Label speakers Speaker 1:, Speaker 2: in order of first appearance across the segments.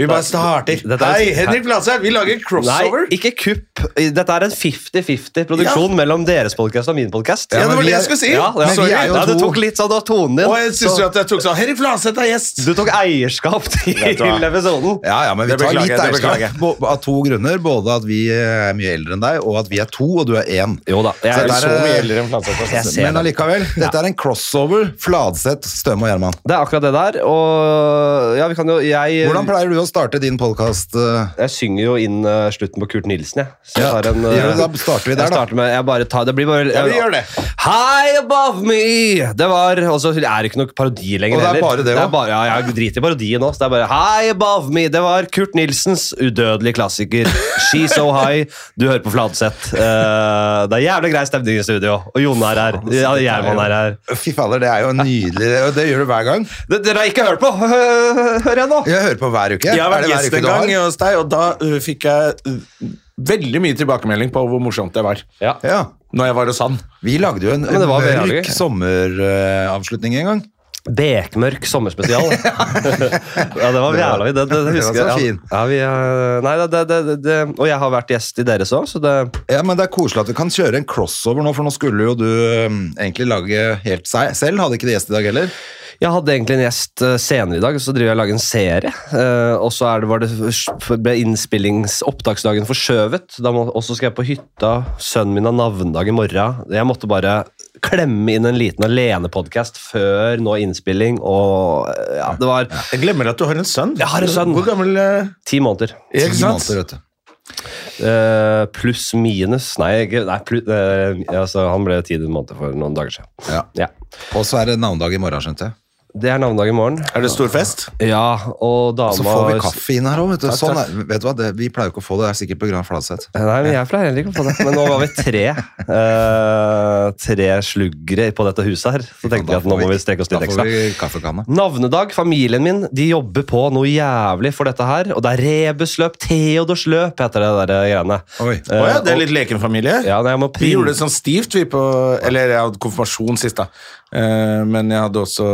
Speaker 1: Vi bare starter.
Speaker 2: Dette er-
Speaker 1: Hei, Henrik Bladsheim, vi lager crossover.
Speaker 2: Nei, ikke kupp. Dette er en 50-50-produksjon mellom deres podcast og min podcast.
Speaker 1: Ja, det var det jeg skulle si.
Speaker 2: Ja, ja.
Speaker 1: Men vi er jo
Speaker 2: ja, du
Speaker 1: to.
Speaker 2: tok litt sånn av tonen din.
Speaker 1: Og jeg synes
Speaker 2: så-
Speaker 1: jo at jeg tok sånn Henrik Flanseth er gjest!
Speaker 2: Du tok eierskap til
Speaker 1: Vet du hva?
Speaker 2: episoden.
Speaker 3: Ja, ja, men vi
Speaker 1: Det
Speaker 3: tar
Speaker 1: beklager
Speaker 3: litt
Speaker 1: jeg, det beklager
Speaker 3: eierskap bo- av to grunner. Både at vi eh, er mye eldre enn deg, og at vi er to, og du er én.
Speaker 2: Jo da, jeg
Speaker 3: Så
Speaker 2: er
Speaker 3: dette
Speaker 2: så
Speaker 3: er-
Speaker 2: mye
Speaker 1: eldre enn Flanseth, altså.
Speaker 2: Jeg ser
Speaker 3: Men
Speaker 2: det.
Speaker 3: allikevel, dette er en crossover. Fladseth, Støme og Gjerman.
Speaker 2: Det er akkurat det der. Og ja, vi kan jo Jeg,
Speaker 3: Hvordan pleier du å starte din eh? podkast?
Speaker 2: jeg synger jo inn eh, slutten på Kurt Nilsen, jeg. Så jeg
Speaker 3: Ja.
Speaker 2: tar en, eh,
Speaker 3: Ja, da starter vi der,
Speaker 2: jeg
Speaker 3: da.
Speaker 2: starter Med, jeg bare tar, det blir bare
Speaker 1: Ja, vi gjør det.
Speaker 2: High above me! Det var Og så er det ikke noe parodi lenger
Speaker 3: Og det er
Speaker 2: heller.
Speaker 3: bare det også.
Speaker 2: bare- Ja, jeg driter i parodien nå. Så det er bare High above me! Det var Kurt Nilsens udødelige klassiker. She's so high. Du hører på Fladseth. Eh, det er jævlig grei stemning i studio. Og Jonar er her. Ja, Gjerman er her.
Speaker 3: Fy fader, det er jo nydelig. og Det gjør du hver gang.
Speaker 2: Det, dere har ikke hørt på, hører jeg nå.
Speaker 3: Jeg hører på hver uke.
Speaker 1: Jeg har
Speaker 3: Er
Speaker 1: vært
Speaker 3: det hver
Speaker 1: gjest
Speaker 3: uke
Speaker 1: en
Speaker 3: du har?
Speaker 1: gang hos deg, og da uh, fikk jeg uh, veldig mye tilbakemelding på hvor morsomt det var.
Speaker 2: Ja.
Speaker 3: Ja.
Speaker 1: Når jeg var hos han.
Speaker 3: Vi lagde jo en
Speaker 2: men det var veldig
Speaker 3: mørk
Speaker 2: gøy.
Speaker 3: sommeravslutning en gang.
Speaker 2: Bekmørk sommerspesial. da. ja, det var jævla vidt. Det, det, det
Speaker 3: Det var
Speaker 2: husker
Speaker 3: så
Speaker 2: jeg.
Speaker 3: fin.
Speaker 2: Ja, vi, eh, nei, det, det, det, det, og jeg har vært gjest i deres òg, så det
Speaker 3: Ja, men Det er koselig at vi kan kjøre en crossover nå, for nå skulle jo du øhm, egentlig lage helt seg selv. Hadde ikke det gjest i dag heller.
Speaker 2: Jeg hadde egentlig en gjest eh, senere i dag, så driver jeg og lager en serie. eh, og så er det, var det ble innspillings opptaksdagen forskjøvet. Da må, og så skal jeg på hytta. Sønnen min har navnedag i morgen. Jeg måtte bare klemme inn en liten alenepodkast før nå innspilling, og eh, ja, det var
Speaker 1: Jeg glemmer at du har en sønn.
Speaker 2: Jeg har en sønn.
Speaker 1: Hvor gammel uh,
Speaker 2: ti måneder.
Speaker 1: Ikke
Speaker 3: Ti
Speaker 1: sant?
Speaker 3: måneder, vet du.
Speaker 2: Eh, pluss minus Nei, ikke- nei plu- eh, altså, han ble ti måneder for noen dager siden.
Speaker 3: Ja.
Speaker 2: Ja.
Speaker 3: Og så er det navnedag i morgen, skjønte jeg.
Speaker 2: Det er navnedag i morgen.
Speaker 1: Er det stor fest?
Speaker 2: Ja, og dama
Speaker 3: Så får vi kaffe inn her òg, vet du.
Speaker 1: Takk,
Speaker 3: Sånn
Speaker 1: takk.
Speaker 3: er, vet du hva? Det, vi pleier jo ikke å få det. Det er sikkert på grunn av Fladseth.
Speaker 2: Nei, men jeg pleier heller ikke å få det. Men nå var vi tre eh, Tre sluggere på dette huset her. Så tenkte vi
Speaker 3: Da
Speaker 2: at nå
Speaker 3: får
Speaker 2: må vi strekke oss litt
Speaker 3: da får
Speaker 2: ekstra.
Speaker 3: vi kaffekanne.
Speaker 2: Navnedag, familien min, de jobber på noe jævlig for dette her. Og det er rebusløp, Theodorsløp heter det der greiene.
Speaker 3: Oi.
Speaker 2: Eh,
Speaker 1: Å ja, det er
Speaker 2: og-
Speaker 1: litt leken familie.
Speaker 2: ja, nei, jeg må
Speaker 1: Vi gjorde
Speaker 2: printe
Speaker 1: det sånn stivt, vi på Eller jeg hadde konfirmasjon sist, da. Eh, Men jeg hadde også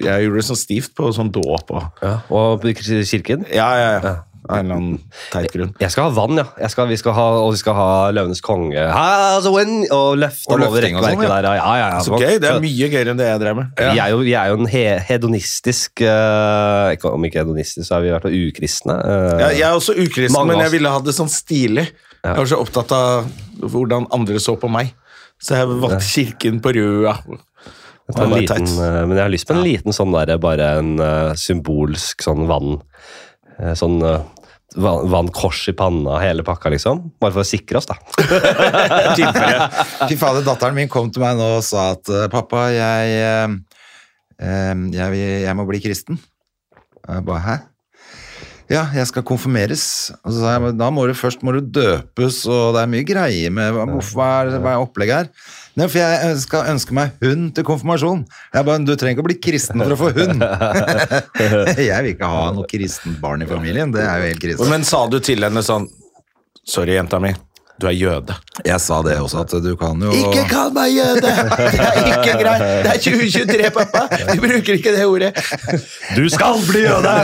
Speaker 1: Jeg gjorde det sånn stivt på sånn dåp og
Speaker 2: ja, Og kirken.
Speaker 1: Ja, ja, ja. Av en eller annen teit grunn.
Speaker 2: Jeg skal ha vann, ja. Jeg skal, vi skal ha, og vi skal ha Løvenes konge. Hæ, altså, when? Og løfte
Speaker 3: Og
Speaker 2: han over
Speaker 3: løfting og
Speaker 2: rekkverket
Speaker 3: sånn, ja.
Speaker 2: der. Ja, ja, ja.
Speaker 1: Så gøy. Det er mye gøyere enn det jeg drev med.
Speaker 2: Vi, er jo, vi er jo en he hedonistisk eh, ikke- Om ikke hedonistisk, så er vi i hvert fall ukristne. eh.
Speaker 1: Ja, jeg er også ukristen,
Speaker 2: Mange
Speaker 1: men
Speaker 2: av
Speaker 1: jeg
Speaker 2: oss.
Speaker 1: ville ha det sånn stilig. Jeg var så opptatt av hvordan andre så på meg. Så jeg valgte kirken på Røa.
Speaker 2: Det er en
Speaker 1: Det var
Speaker 2: liten,
Speaker 1: teit.
Speaker 2: eh, men jeg har lyst på en liten sånn der, bare en eh, symbolsk sånn vann eh, Sånn eh, vann, vannkors i panna, hele pakka, liksom. Bare for å sikre oss, da.
Speaker 3: Fy fader, datteren min kom til meg nå og sa at eh, pappa, jeg, eh, eh, jeg, vil- jeg må bli kristen. Og jeg bare, hæ? Ja, jeg skal konfirmeres. Og så sa jeg, «Men da må du først må du døpes, og det er mye greier med hva, hvorfor- hva er, hva er opplegget her? Nei, for jeg skal ønske meg hund til konfirmasjon. Jeg bare, du trenger ikke å bli kristen for å få hund. jeg vil ikke ha noe kristent barn i familien, det er jo helt kristent.
Speaker 1: Men sa du til henne sånn Sorry, jenta mi. Du er jøde.
Speaker 3: Jeg sa det også, at du kan jo...
Speaker 1: kall meg jøde! Det er ikke greit! Det er 2023, pappa! Du bruker ikke det ordet.
Speaker 2: Du skal bli jøde!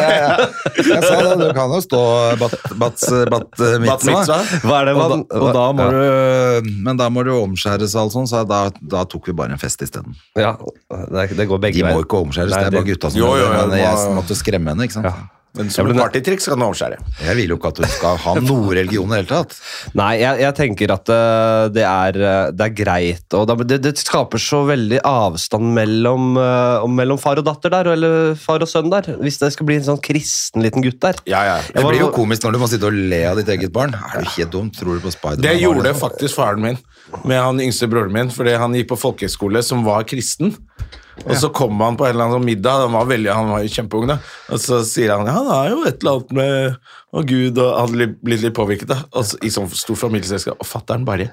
Speaker 3: Jeg sa det, du kan jo stå bat, bat, bat,
Speaker 1: Bat
Speaker 3: mitzvah.
Speaker 1: mitzvah?
Speaker 2: Hva er det
Speaker 3: Og da,
Speaker 2: man
Speaker 3: og da må
Speaker 2: ja.
Speaker 3: du, men da må du omskjæres og alt sånt, så da, da tok vi bare en fest isteden.
Speaker 2: Ja, det, det går begge
Speaker 3: De må
Speaker 2: veier.
Speaker 3: jo ikke omskjæres,
Speaker 2: Nei,
Speaker 3: det er bare
Speaker 2: det-
Speaker 3: gutta som
Speaker 1: Jo,
Speaker 3: gjør
Speaker 1: jo,
Speaker 3: det,
Speaker 1: jo,
Speaker 3: men
Speaker 1: det var-
Speaker 3: jeg måtte skremme henne, ikke sant?
Speaker 1: Men som
Speaker 2: ble-
Speaker 1: partytriks kan du overskjære.
Speaker 3: Jeg vil jo ikke at hun skal ha noe religion i det hele tatt.
Speaker 2: Nei, jeg, jeg tenker at eh, det er, eh, det er greit. Og da- det, det skaper så veldig avstand mellom, eh, og mellom far og datter der, eller far og sønn der. Hvis det skal bli en sånn kristen liten gutt der.
Speaker 1: Ja, ja.
Speaker 3: Det
Speaker 2: var-
Speaker 3: blir jo komisk når du må sitte og le av ditt eget barn. Er du helt dum? Tror du på Spiderman?
Speaker 1: Det
Speaker 3: Var
Speaker 1: gjorde faktisk faren min med han yngste broren min, fordi han gikk på folkehøyskole som var kristen. Og så kom han på en eller annen sånn middag, han var, veldig, han var jo kjempeung, da. Og så sier han ja, han er jo et eller annet med å Gud, og han hadde blitt litt påvirket, da. Og så, I sånn stor familieselskap. Og fatter'n bare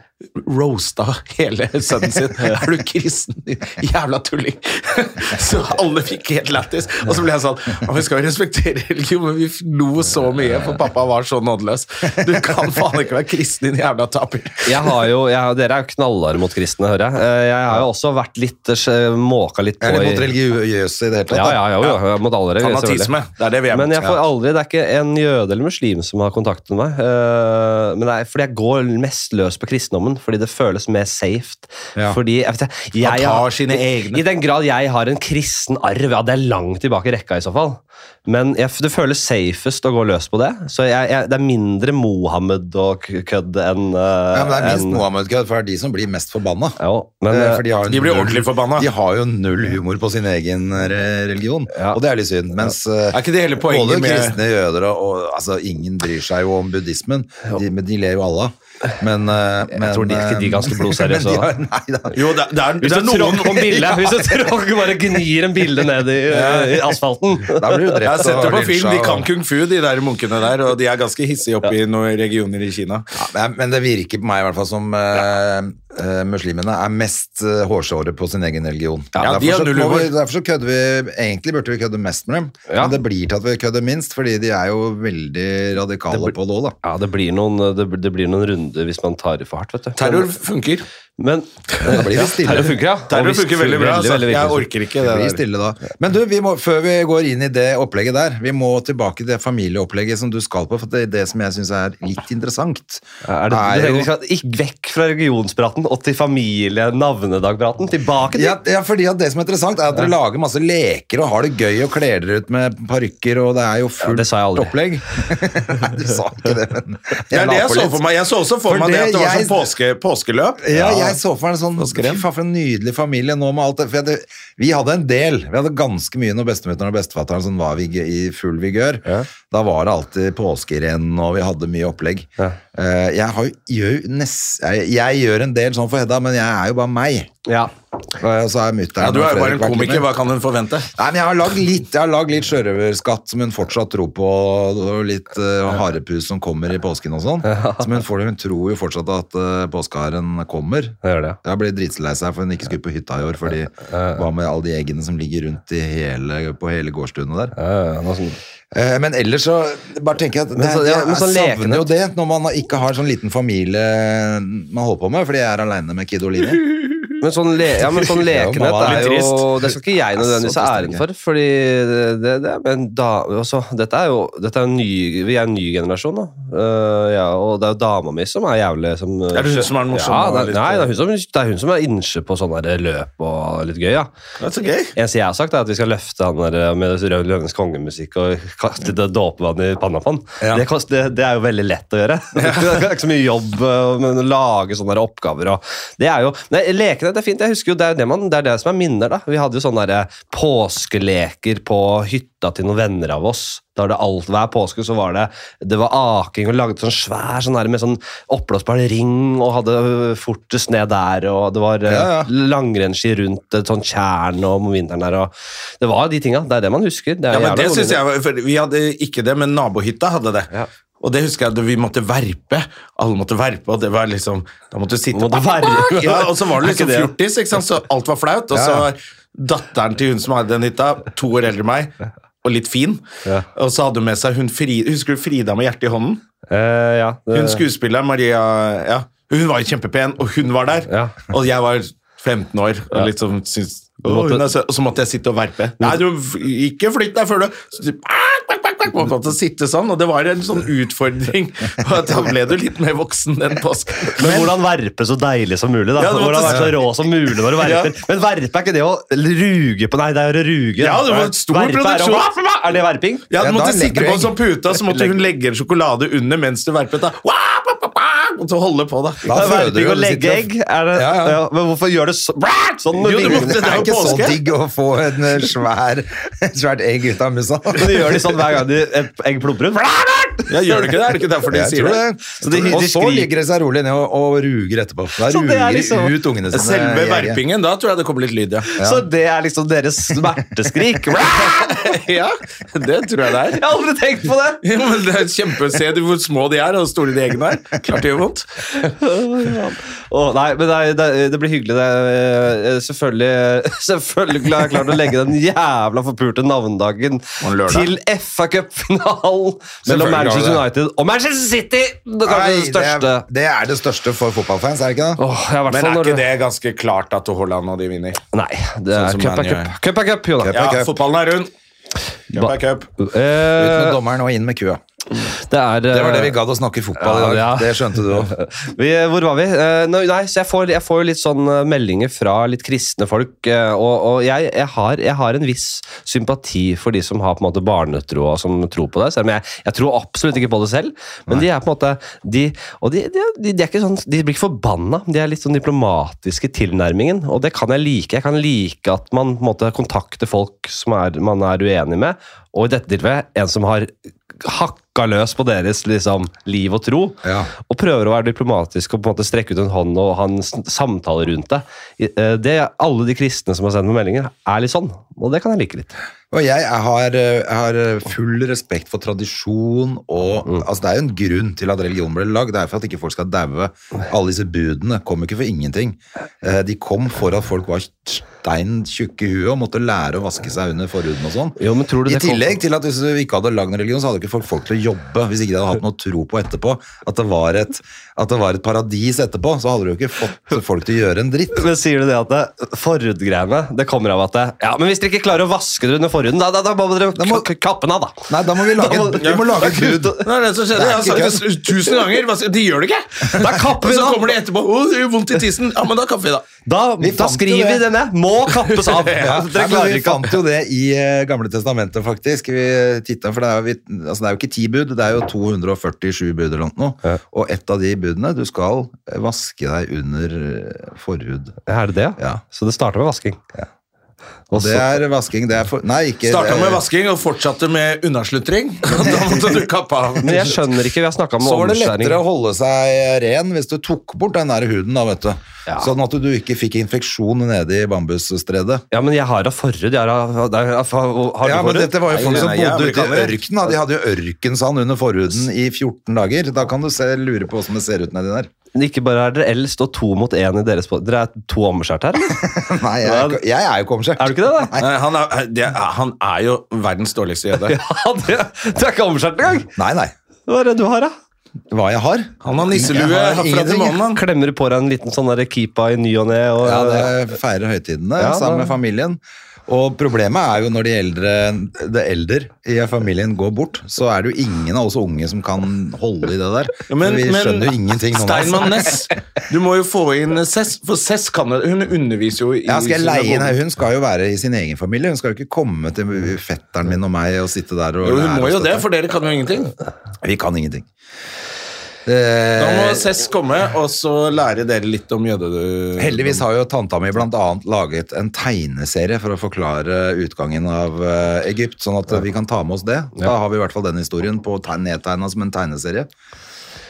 Speaker 1: roasta hele sønnen sin. Er du kristen, din jævla tulling? Så alle fikk helt lættis. Og så ble jeg sånn «Ja, Vi skal jo respektere religion, men vi lo så mye, for pappa var så nådeløs. Du kan faen ikke være kristen, din jævla taper.
Speaker 2: jeg har jo, jeg, har- dere er jo knallharde mot kristne, hører jeg. Eh, Jeg har jo også vært litt eh, måka litt på
Speaker 3: Er det mot
Speaker 2: i-
Speaker 3: religiøse i det hele tatt?
Speaker 2: Ja,
Speaker 3: da?
Speaker 2: ja, ja, jo, ja. Mot alle regler,
Speaker 1: Fanatisme.
Speaker 2: selvfølgelig.
Speaker 1: Det er det vi er
Speaker 2: Men
Speaker 1: mot,
Speaker 2: jeg får aldri, det er ikke en jøde eller muslim som har kontaktet meg. eh, men det er fordi jeg går mest løs på kristendommen, fordi det føles mer safe.
Speaker 3: Ja.
Speaker 2: Fordi, jeg vet, ikke, jeg,
Speaker 1: tar
Speaker 2: har-
Speaker 1: sine egne.
Speaker 2: I den grad jeg har en kristen arv, ja, det er langt tilbake i rekka i så fall. Men jeg, det føles safest å gå løs på det. Så jeg, jeg, det er mindre Mohammed og k- kødd enn eh,
Speaker 3: Ja, men det er minst
Speaker 2: enn-
Speaker 3: Mohammed-kødd, for det er de som blir mest forbanna.
Speaker 2: Jo, men,
Speaker 3: Eh,
Speaker 2: eh,
Speaker 3: for de, har jo
Speaker 1: De blir
Speaker 3: null-
Speaker 1: ordentlig forbanna.
Speaker 3: De har jo null humor på sin egen eh, re- religion,
Speaker 2: Ja.
Speaker 3: og det er litt synd. Mens eh,
Speaker 1: Er ikke det hele poenget
Speaker 3: både
Speaker 1: med-
Speaker 3: kristne jøder og, og altså, Ingen bryr seg jo om buddhismen, de, men de ler jo alle av. Men, eh, men eh,
Speaker 2: tror de- ikke de kan stå
Speaker 3: men
Speaker 2: blodseriøse,
Speaker 3: de
Speaker 2: da.
Speaker 3: har- Nei da.
Speaker 1: Jo, det, det er,
Speaker 2: Hvis
Speaker 1: det er
Speaker 2: du
Speaker 1: noen
Speaker 2: tråkker på bildet, hvis du tråkker bare gnir en bilde ned i, i asfalten
Speaker 3: Da blir du drept.
Speaker 1: Jeg har sett det
Speaker 3: og
Speaker 1: på film.
Speaker 3: lynsja,
Speaker 1: De kan
Speaker 3: og-
Speaker 1: kung fu, de der munkene der, og de er ganske hissige oppe i noen regioner i Kina.
Speaker 3: Ja, men- Men det virker på meg i hvert fall som eh, eh, muslimene er mest eh, hårsåre på sin egen religion.
Speaker 1: Ja, de
Speaker 3: derfor,
Speaker 1: har
Speaker 3: så
Speaker 1: null
Speaker 3: må vi,
Speaker 1: humor.
Speaker 3: derfor så kødder vi Egentlig burde vi kødde mest med dem,
Speaker 2: Ja.
Speaker 3: men det blir til at vi kødder minst, fordi de er jo veldig radikale på det òg, da.
Speaker 2: Ja, det blir, noen, det, det blir noen runder hvis man tar i for hardt, vet du.
Speaker 1: Terror funker.
Speaker 2: Men,
Speaker 3: Da blir det stille.
Speaker 2: terror funker, ja. Og
Speaker 1: Terror
Speaker 2: hvis-
Speaker 1: funker veldig bra. altså.
Speaker 2: veldig
Speaker 1: Jeg
Speaker 2: viktig.
Speaker 1: orker ikke
Speaker 3: Det
Speaker 1: det
Speaker 3: blir
Speaker 1: der.
Speaker 3: stille da. Men du, vi må, før vi går inn i det opplegget der, vi må tilbake til det familieopplegget som du skal på, for det, det som jeg syns er litt interessant,
Speaker 2: Er det, du
Speaker 3: jo-
Speaker 2: tenker vi skal ikke vekk fra religionspraten og til familie-navnedagpraten. Tilbake til
Speaker 3: ja, ja, fordi at det som er interessant er at dere lager masse leker og har det gøy og kler dere ut med parykker, og det er jo fullt
Speaker 2: det sa jeg aldri.
Speaker 3: opplegg. Nei, du sa ikke det, men
Speaker 1: Det er det
Speaker 3: la
Speaker 1: jeg
Speaker 3: på
Speaker 1: så
Speaker 3: litt.
Speaker 1: for meg. Jeg så også for
Speaker 3: For
Speaker 1: meg det
Speaker 3: det
Speaker 1: at det var
Speaker 3: jeg-
Speaker 1: sånn påske, påskeløp.
Speaker 3: Ja, jeg så for meg en sånn Fy faen, for en nydelig familie nå med alt det. For jeg, det- vi hadde en del. Vi hadde ganske mye når bestemutteren og bestefatteren som var vig, i full vigør. Da var det alltid påskerenn, og vi hadde mye opplegg. Eh, Jeg, har, jo- gjør, jo nest, jeg, jeg gjør en del sånn for Hedda, men jeg er jo bare meg.
Speaker 2: Ja.
Speaker 3: Og så er mutteren
Speaker 1: Ja, du
Speaker 3: og
Speaker 1: er
Speaker 3: Fredrik
Speaker 1: jo bare en
Speaker 3: vært litt
Speaker 1: komiker,
Speaker 3: med.
Speaker 1: hva kan hun forvente?
Speaker 3: Nei, men jeg har lagd litt, jeg har lagd litt sjørøverskatt som hun fortsatt tror på, og litt eh, harepus som kommer i påsken og sånn. Som hun, får, hun tror jo fortsatt at uh, påskeharen kommer.
Speaker 2: Det gjør det.
Speaker 3: Jeg ble dritlei seg for hun ikke skulle på hytta i år, fordi hva med alle de eggene som ligger rundt i hele, på hele gårdstunet der?
Speaker 2: Ja, ja, noe sånt.
Speaker 3: Eh, Men ellers så bare tenker jeg at det,
Speaker 2: Men så- ja,
Speaker 3: jeg
Speaker 2: men så lekende.
Speaker 3: savner jo det når man ikke har sånn liten familie man holder på med, fordi jeg er aleine med Kid og Line.
Speaker 2: Men sånn, le ja, men sånn
Speaker 3: Ja, mamma
Speaker 2: lekenhet
Speaker 3: var
Speaker 2: er
Speaker 3: litt
Speaker 2: jo
Speaker 3: trist.
Speaker 2: Det skal ikke jeg nødvendigvis
Speaker 3: Ja,
Speaker 2: ha
Speaker 3: så trist
Speaker 2: æren for. Fordi det, det, det men da, altså, Dette er jo dette er en ny, Vi er en ny generasjon, da. Eh, ja, og det er jo dama mi som er jævlig som, eh,
Speaker 1: Er det hun som er den morsomme
Speaker 2: Ja, det,
Speaker 1: og
Speaker 2: er-
Speaker 1: litt- eh,
Speaker 2: nei, det er hun som, det er, hun som er innsjø på sånne der løp og litt gøy, ja.
Speaker 1: Det er så gøy.
Speaker 2: Eneste jeg har sagt, er at vi skal løfte han der eh, med Rød Lønnes kongemusikk og kaste det dåpevann i panna på han.
Speaker 3: Ja.
Speaker 2: Det, kost- det, det er jo veldig lett å gjøre. det er ikke så mye jobb eh, men å lage sånne der oppgaver. Og det er jo, nei, lekenhet er fint. Jeg husker jo, det er jo det, man, det er det som er minner. da. Vi hadde jo sånne der eh, påskeleker på hytta til noen venner av oss. Da var det alt, Hver påske så var det det var aking og lagde sånn svær sånn der med sånn oppblåsbar ring og hadde øh, fortest ned der, og det var eh, ja,
Speaker 3: Ja, ja.
Speaker 2: langrennsski rundt et sånt tjern om vinteren der. Og det var de tinga. Det er det man husker. Det er
Speaker 1: Ja, men
Speaker 2: jævla
Speaker 1: det
Speaker 2: gode
Speaker 1: synes
Speaker 2: minner.
Speaker 1: jeg var, for Vi hadde ikke det, men nabohytta hadde det.
Speaker 2: Ja.
Speaker 1: Og det husker jeg, at vi måtte verpe. Alle måtte verpe, og det var liksom Da måtte du sitte
Speaker 2: Måtte verpe.
Speaker 1: Ja, Og så var du
Speaker 2: Er ikke
Speaker 1: liksom
Speaker 2: det-
Speaker 1: fjortis, ikke sant? så alt var flaut. Og så
Speaker 3: Ja, ja.
Speaker 1: var datteren til hun som hadde den hytta, to år eldre enn meg, og litt fin.
Speaker 2: Ja.
Speaker 1: Og så hadde hun med seg hun Fri, Husker du Frida med hjertet i hånden?
Speaker 2: Eh, ja, det,
Speaker 1: Hun skuespilleren, Maria ja, Hun var jo kjempepen, og hun var der.
Speaker 2: Ja.
Speaker 1: Og jeg var 15 år, og liksom syntes
Speaker 2: Du
Speaker 1: «Å,
Speaker 2: måtte-
Speaker 1: hun er søt», Og så måtte jeg sitte og verpe. Nei, du f- ikke flytt deg før du så typ, «Ah, kvakk, kvakk, kvakk», Man måtte sitte sånn, og det var en sånn utfordring. Og Da ble du litt mer voksen den påsken.
Speaker 2: men hvordan verpe så deilig som mulig? da?
Speaker 1: Ja, det måtte-
Speaker 2: hvordan være så rå som mulig når du verper?
Speaker 1: Ja.
Speaker 2: Men verpe er ikke det å ruge på Nei, det er å ruge.
Speaker 1: Ja, det var stor
Speaker 2: Verpe er å-
Speaker 1: produksjon.
Speaker 2: Er det verping?
Speaker 1: Ja, du
Speaker 3: Ja, da
Speaker 1: måtte
Speaker 3: legger
Speaker 1: sitte
Speaker 3: du
Speaker 1: på en
Speaker 3: egg.
Speaker 1: sånn pute, og så måtte hun legge en sjokolade under mens du verpet. Da. «Wah, pa, pa, pa», Og så holde på, da.
Speaker 3: Da
Speaker 2: Det er
Speaker 3: føder du
Speaker 2: verping
Speaker 3: jo,
Speaker 2: å
Speaker 3: du sitter
Speaker 2: legge
Speaker 3: og-
Speaker 2: egg? Er det, ja,
Speaker 3: Ja, ja.
Speaker 2: men hvorfor gjør det så, sånn? med
Speaker 1: Jo, du
Speaker 2: vingene?
Speaker 1: måtte- det
Speaker 3: Det
Speaker 1: er
Speaker 3: er
Speaker 1: jo
Speaker 3: ikke
Speaker 2: sånn.
Speaker 3: så
Speaker 1: påske.
Speaker 3: digg å få en eh, svær, et svært egg ut av musa.
Speaker 2: sånn Men de gjør de sånn hver gang de et egg plumper ut. gærent!
Speaker 1: Ja, gjør det ikke det? Er det ikke derfor de
Speaker 3: Jeg
Speaker 1: sier
Speaker 3: tror
Speaker 1: det?
Speaker 3: det. og så ligger de seg rolig ned og, og ruger etterpå. Da
Speaker 2: Så det er
Speaker 3: ruger
Speaker 2: liksom-
Speaker 3: ut ungene sine.
Speaker 1: Selve
Speaker 3: jegere.
Speaker 1: verpingen, da tror jeg det kommer litt lyd, ja.
Speaker 2: Så det er liksom deres smerteskrik? Jeg
Speaker 1: Ja, det tror jeg det er.
Speaker 2: har aldri tenkt på det!
Speaker 1: Ja, men det er kjempe, Se du hvor små de er, og hvor store de eggene er. Klart det gjør vondt.
Speaker 2: Åh, nei, men nei, det, det blir hyggelig. Det. Eh, Selvfølgelig Selvfølgelig har jeg klart å legge den jævla forpulte navnedagen
Speaker 1: en lørdag.
Speaker 2: til FA Cup-finalen
Speaker 1: Selvfølgelig har
Speaker 2: mellom
Speaker 1: du
Speaker 2: Manchester
Speaker 1: det.
Speaker 2: United og Manchester City! Det er
Speaker 3: Nei,
Speaker 2: kanskje det største.
Speaker 3: Det, er- det er det største for fotballfans, er det ikke det?
Speaker 2: Åh, ja, i hvert
Speaker 1: Men
Speaker 2: fall
Speaker 1: er
Speaker 2: når
Speaker 1: ikke
Speaker 2: du-
Speaker 1: det ganske klart at Haaland og de vinner?
Speaker 2: Nei, det
Speaker 1: Sånn
Speaker 2: er
Speaker 1: som
Speaker 2: cup er
Speaker 1: Man gjør.
Speaker 2: cup. Cup er cup, Jonas.
Speaker 1: Ja,
Speaker 3: cup.
Speaker 1: fotballen er rund. Cup er cup.
Speaker 3: Ut
Speaker 2: Eh,
Speaker 3: med dommeren og inn med kua.
Speaker 2: det er
Speaker 3: Det var det vi gadd å snakke fotball i dag.
Speaker 2: Ja, ja.
Speaker 3: Det skjønte du òg.
Speaker 2: Vi, hvor var vi? Eh, nå- nei, så jeg får, jeg får jo litt sånn eh, meldinger fra litt kristne folk, eh, og, og jeg, jeg, har, jeg har en viss sympati for de som har på en måte barnetro og som tror på det, selv om jeg, jeg tror absolutt ikke på det selv, men de er på en måte de, og de, de, de, de er ikke sånn, de blir ikke forbanna, de er litt sånn diplomatiske i tilnærmingen, og det kan jeg like. Jeg kan like at man på en måte kontakter folk som er, man er uenig med, og i dette tilfellet en som har hakka løs på deres liksom, liv og tro,
Speaker 3: Ja.
Speaker 2: og prøver å være diplomatisk og på en måte strekke ut en hånd og ha en s- samtale rundt det. I- eh, det alle de kristne som har sendt meg meldinger, er litt sånn, og det kan jeg like litt.
Speaker 3: Og jeg er- har, eh, har full respekt for tradisjon og altså Det er jo en grunn til at religion ble lagd. Det er for at ikke folk skal daue. Alle disse budene kom jo ikke for ingenting. Eh, De kom for at folk var stein tjukke i huet og måtte lære å vaske seg under forhuden og sånn.
Speaker 2: Jo, men tror du
Speaker 3: I
Speaker 2: det kom-
Speaker 3: tillegg til at hvis du ikke hadde lagd en religion, så hadde ikke folk folk til å jobbe hvis ikke de hadde hatt noe å tro på etterpå. At det var et, at det var et paradis etterpå, så hadde du jo ikke fått folk til å gjøre en dritt.
Speaker 2: Men sier du det at det, forhudgreiene det kommer av at det, Ja, men hvis dere ikke klarer å vaske dere under forhuden, da, da, da må dere
Speaker 3: må-
Speaker 2: k- kappe den av, da.
Speaker 3: Nei, da må vi lage,
Speaker 2: Da må-
Speaker 3: vi må lage et bud.
Speaker 1: Det er det som skjedde. Jeg har sagt det tusen ganger. Hva skal- De gjør det ikke!
Speaker 2: Da kapper vi
Speaker 1: Og så
Speaker 2: den av!
Speaker 1: kommer de etterpå. Å, det gjør vondt i tissen. Ja, men da kapper vi, da.
Speaker 2: Da,
Speaker 3: Vi
Speaker 2: da
Speaker 3: fant jo
Speaker 2: skriver vi
Speaker 3: det.
Speaker 2: det ned. Må kappes av!
Speaker 3: Ja, altså, nei,
Speaker 2: Dere
Speaker 3: men
Speaker 2: klarer
Speaker 3: vi
Speaker 2: ikke å
Speaker 3: fant jo det i eh, Gamle testamentet, faktisk. Vi tittet, for det er, jo, vi, altså det er jo ikke ti bud, det er jo 247 bud eller noe. Og et av de budene Du skal eh, vaske deg under eh, forhud.
Speaker 2: Er det det?
Speaker 3: Ja.
Speaker 2: Så det starter med vasking. Og
Speaker 3: Det
Speaker 2: så-
Speaker 3: er vasking. Det er for Nei, ikke
Speaker 1: Starta med
Speaker 3: eh,
Speaker 1: vasking og fortsatte med unnaslutring. Da måtte du kappe av.
Speaker 2: Men jeg skjønner ikke, vi har snakka om
Speaker 3: så var det
Speaker 2: omskjæring.
Speaker 3: lettere å holde seg eh, ren hvis du tok bort den der huden, da, vet du.
Speaker 2: Ja.
Speaker 3: Sånn at du ikke fikk infeksjon nede i bambusstredet.
Speaker 2: Ja, men jeg har da forhud. Jeg har, har, har, har
Speaker 3: Ja, men
Speaker 2: du forhud?
Speaker 3: dette var jo folk som
Speaker 1: Nei,
Speaker 3: bodde
Speaker 1: jævlig
Speaker 3: ute i
Speaker 1: kaldt.
Speaker 3: ørkenen. da. De hadde jo ørkensand under forhuden i 14 dager. Da kan du se, lure på hvordan det ser ut nedi der.
Speaker 2: Ikke bare er dere eldst og to mot én i deres pod- Dere er to omskjært her? eller?
Speaker 3: Nei, jeg, er ikke- jeg er jo ikke
Speaker 2: Er
Speaker 3: omskjært.
Speaker 2: du ikke det, da?
Speaker 1: Nei, Han er, eh, det, er- han er jo verdens dårligste jøde.
Speaker 2: Ja, du, du er ikke omskjært engang!
Speaker 3: Nei, nei.
Speaker 2: Hva er det du har, da?
Speaker 3: Hva jeg har?
Speaker 1: Han har nisselue
Speaker 3: Jeg har
Speaker 1: herfra til
Speaker 3: ingenting.
Speaker 1: månen. han.
Speaker 2: Klemmer du på deg en liten sånn der keepa i ny og ne? Og,
Speaker 3: Ja, det Eh, feirer høytidene
Speaker 2: Ja,
Speaker 3: sammen
Speaker 2: da-
Speaker 3: med familien. Og problemet er jo når de eldre, det eldre i familien går bort, så er det jo ingen av oss unge som kan holde i det der.
Speaker 1: Ja, men-
Speaker 3: vi
Speaker 1: men-
Speaker 3: skjønner jo ingenting nå.
Speaker 1: Steinmann Ness. Du må jo få inn Cess, for Cess kan jo Hun underviser jo i
Speaker 3: Ja, skal jeg leie inn
Speaker 1: synagogen.
Speaker 3: Hun skal jo være i sin egen familie. Hun skal jo ikke komme til fetteren min og meg og sitte der og
Speaker 1: Jo, hun
Speaker 3: lære
Speaker 1: må
Speaker 3: oss
Speaker 1: jo
Speaker 3: dette.
Speaker 1: det, for dere kan jo ingenting.
Speaker 3: Vi kan ingenting.
Speaker 1: Da må
Speaker 3: Eh,
Speaker 1: Cess komme, og så lære dere litt om jøde...
Speaker 3: heldigvis har jo tanta mi blant annet laget en tegneserie for å forklare utgangen av eh, Egypt, sånn at eh, vi kan ta med oss det. Da har vi i hvert fall den historien på teg- nedtegna som en tegneserie.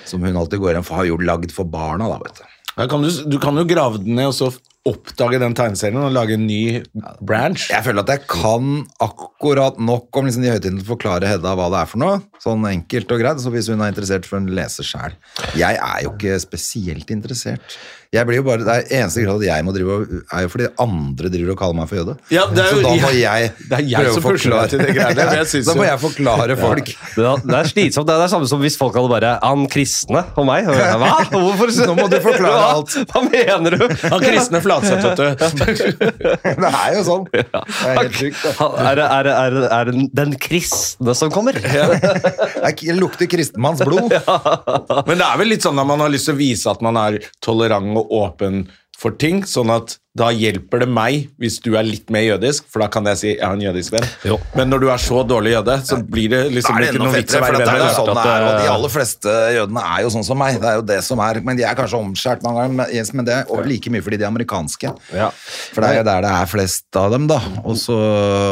Speaker 3: Som hun alltid går igjen for, har jo lagd for barna, da, vet du.
Speaker 1: Da kan du, du kan jo grave den ned og så oppdage den tegneserien og lage en ny branch.
Speaker 3: Jeg føler at jeg kan akkurat nok om liksom de høytidene til å forklare Hedda hva det er for noe. Sånn enkelt og greit. Så hvis hun er interessert, får hun lese sjæl. Jeg er jo ikke spesielt interessert. Jeg blir jo bare, det er eneste grad at jeg må drive og, er jo fordi andre driver og kaller meg for jøde.
Speaker 1: Ja, det er jo-
Speaker 3: så da må
Speaker 1: jeg-
Speaker 3: jeg,
Speaker 1: det er jeg
Speaker 3: prøve å
Speaker 1: som pusher deg til det greiene, men jeg synes
Speaker 3: da må
Speaker 1: jo-
Speaker 3: jeg forklare folk.
Speaker 2: Det, er- det er slitsomt. Det er det samme som hvis folk hadde bare Han kristne og meg. Og jeg, Hva? Hvorfor?
Speaker 3: Nå må du forklare
Speaker 2: Hva?
Speaker 3: alt.
Speaker 2: Hva mener du?
Speaker 1: Han kristne Flatseth, vet du.
Speaker 3: Det er jo sånn. Det er helt sjukt. det.
Speaker 2: Han- Er det er, det- er, det- er det den kristne som kommer?
Speaker 3: Det lukter kristenmanns blod.
Speaker 1: Men det er vel litt sånn at man har lyst til å vise at man er tolerant og åpen for ting, sånn at da hjelper det meg hvis du er litt mer jødisk, for da kan jeg si jeg har en jødisk venn.
Speaker 2: Jo.
Speaker 1: Men når du er så dårlig jøde, så blir det liksom
Speaker 3: Da er det
Speaker 1: ikke
Speaker 3: enda
Speaker 1: noe vits
Speaker 3: fettere,
Speaker 1: å
Speaker 3: for
Speaker 1: være
Speaker 3: det
Speaker 1: venn
Speaker 3: er jo
Speaker 1: med deg.
Speaker 3: sånn det
Speaker 2: at,
Speaker 3: er, og de
Speaker 2: eh,
Speaker 3: aller fleste jødene er jo sånn som meg. Det er jo det som er, men de er kanskje omskjært mange ganger, men, yes, men det er jo like mye fordi de er amerikanske.
Speaker 2: Ja.
Speaker 3: For det er jo der det er flest av dem, da. Og så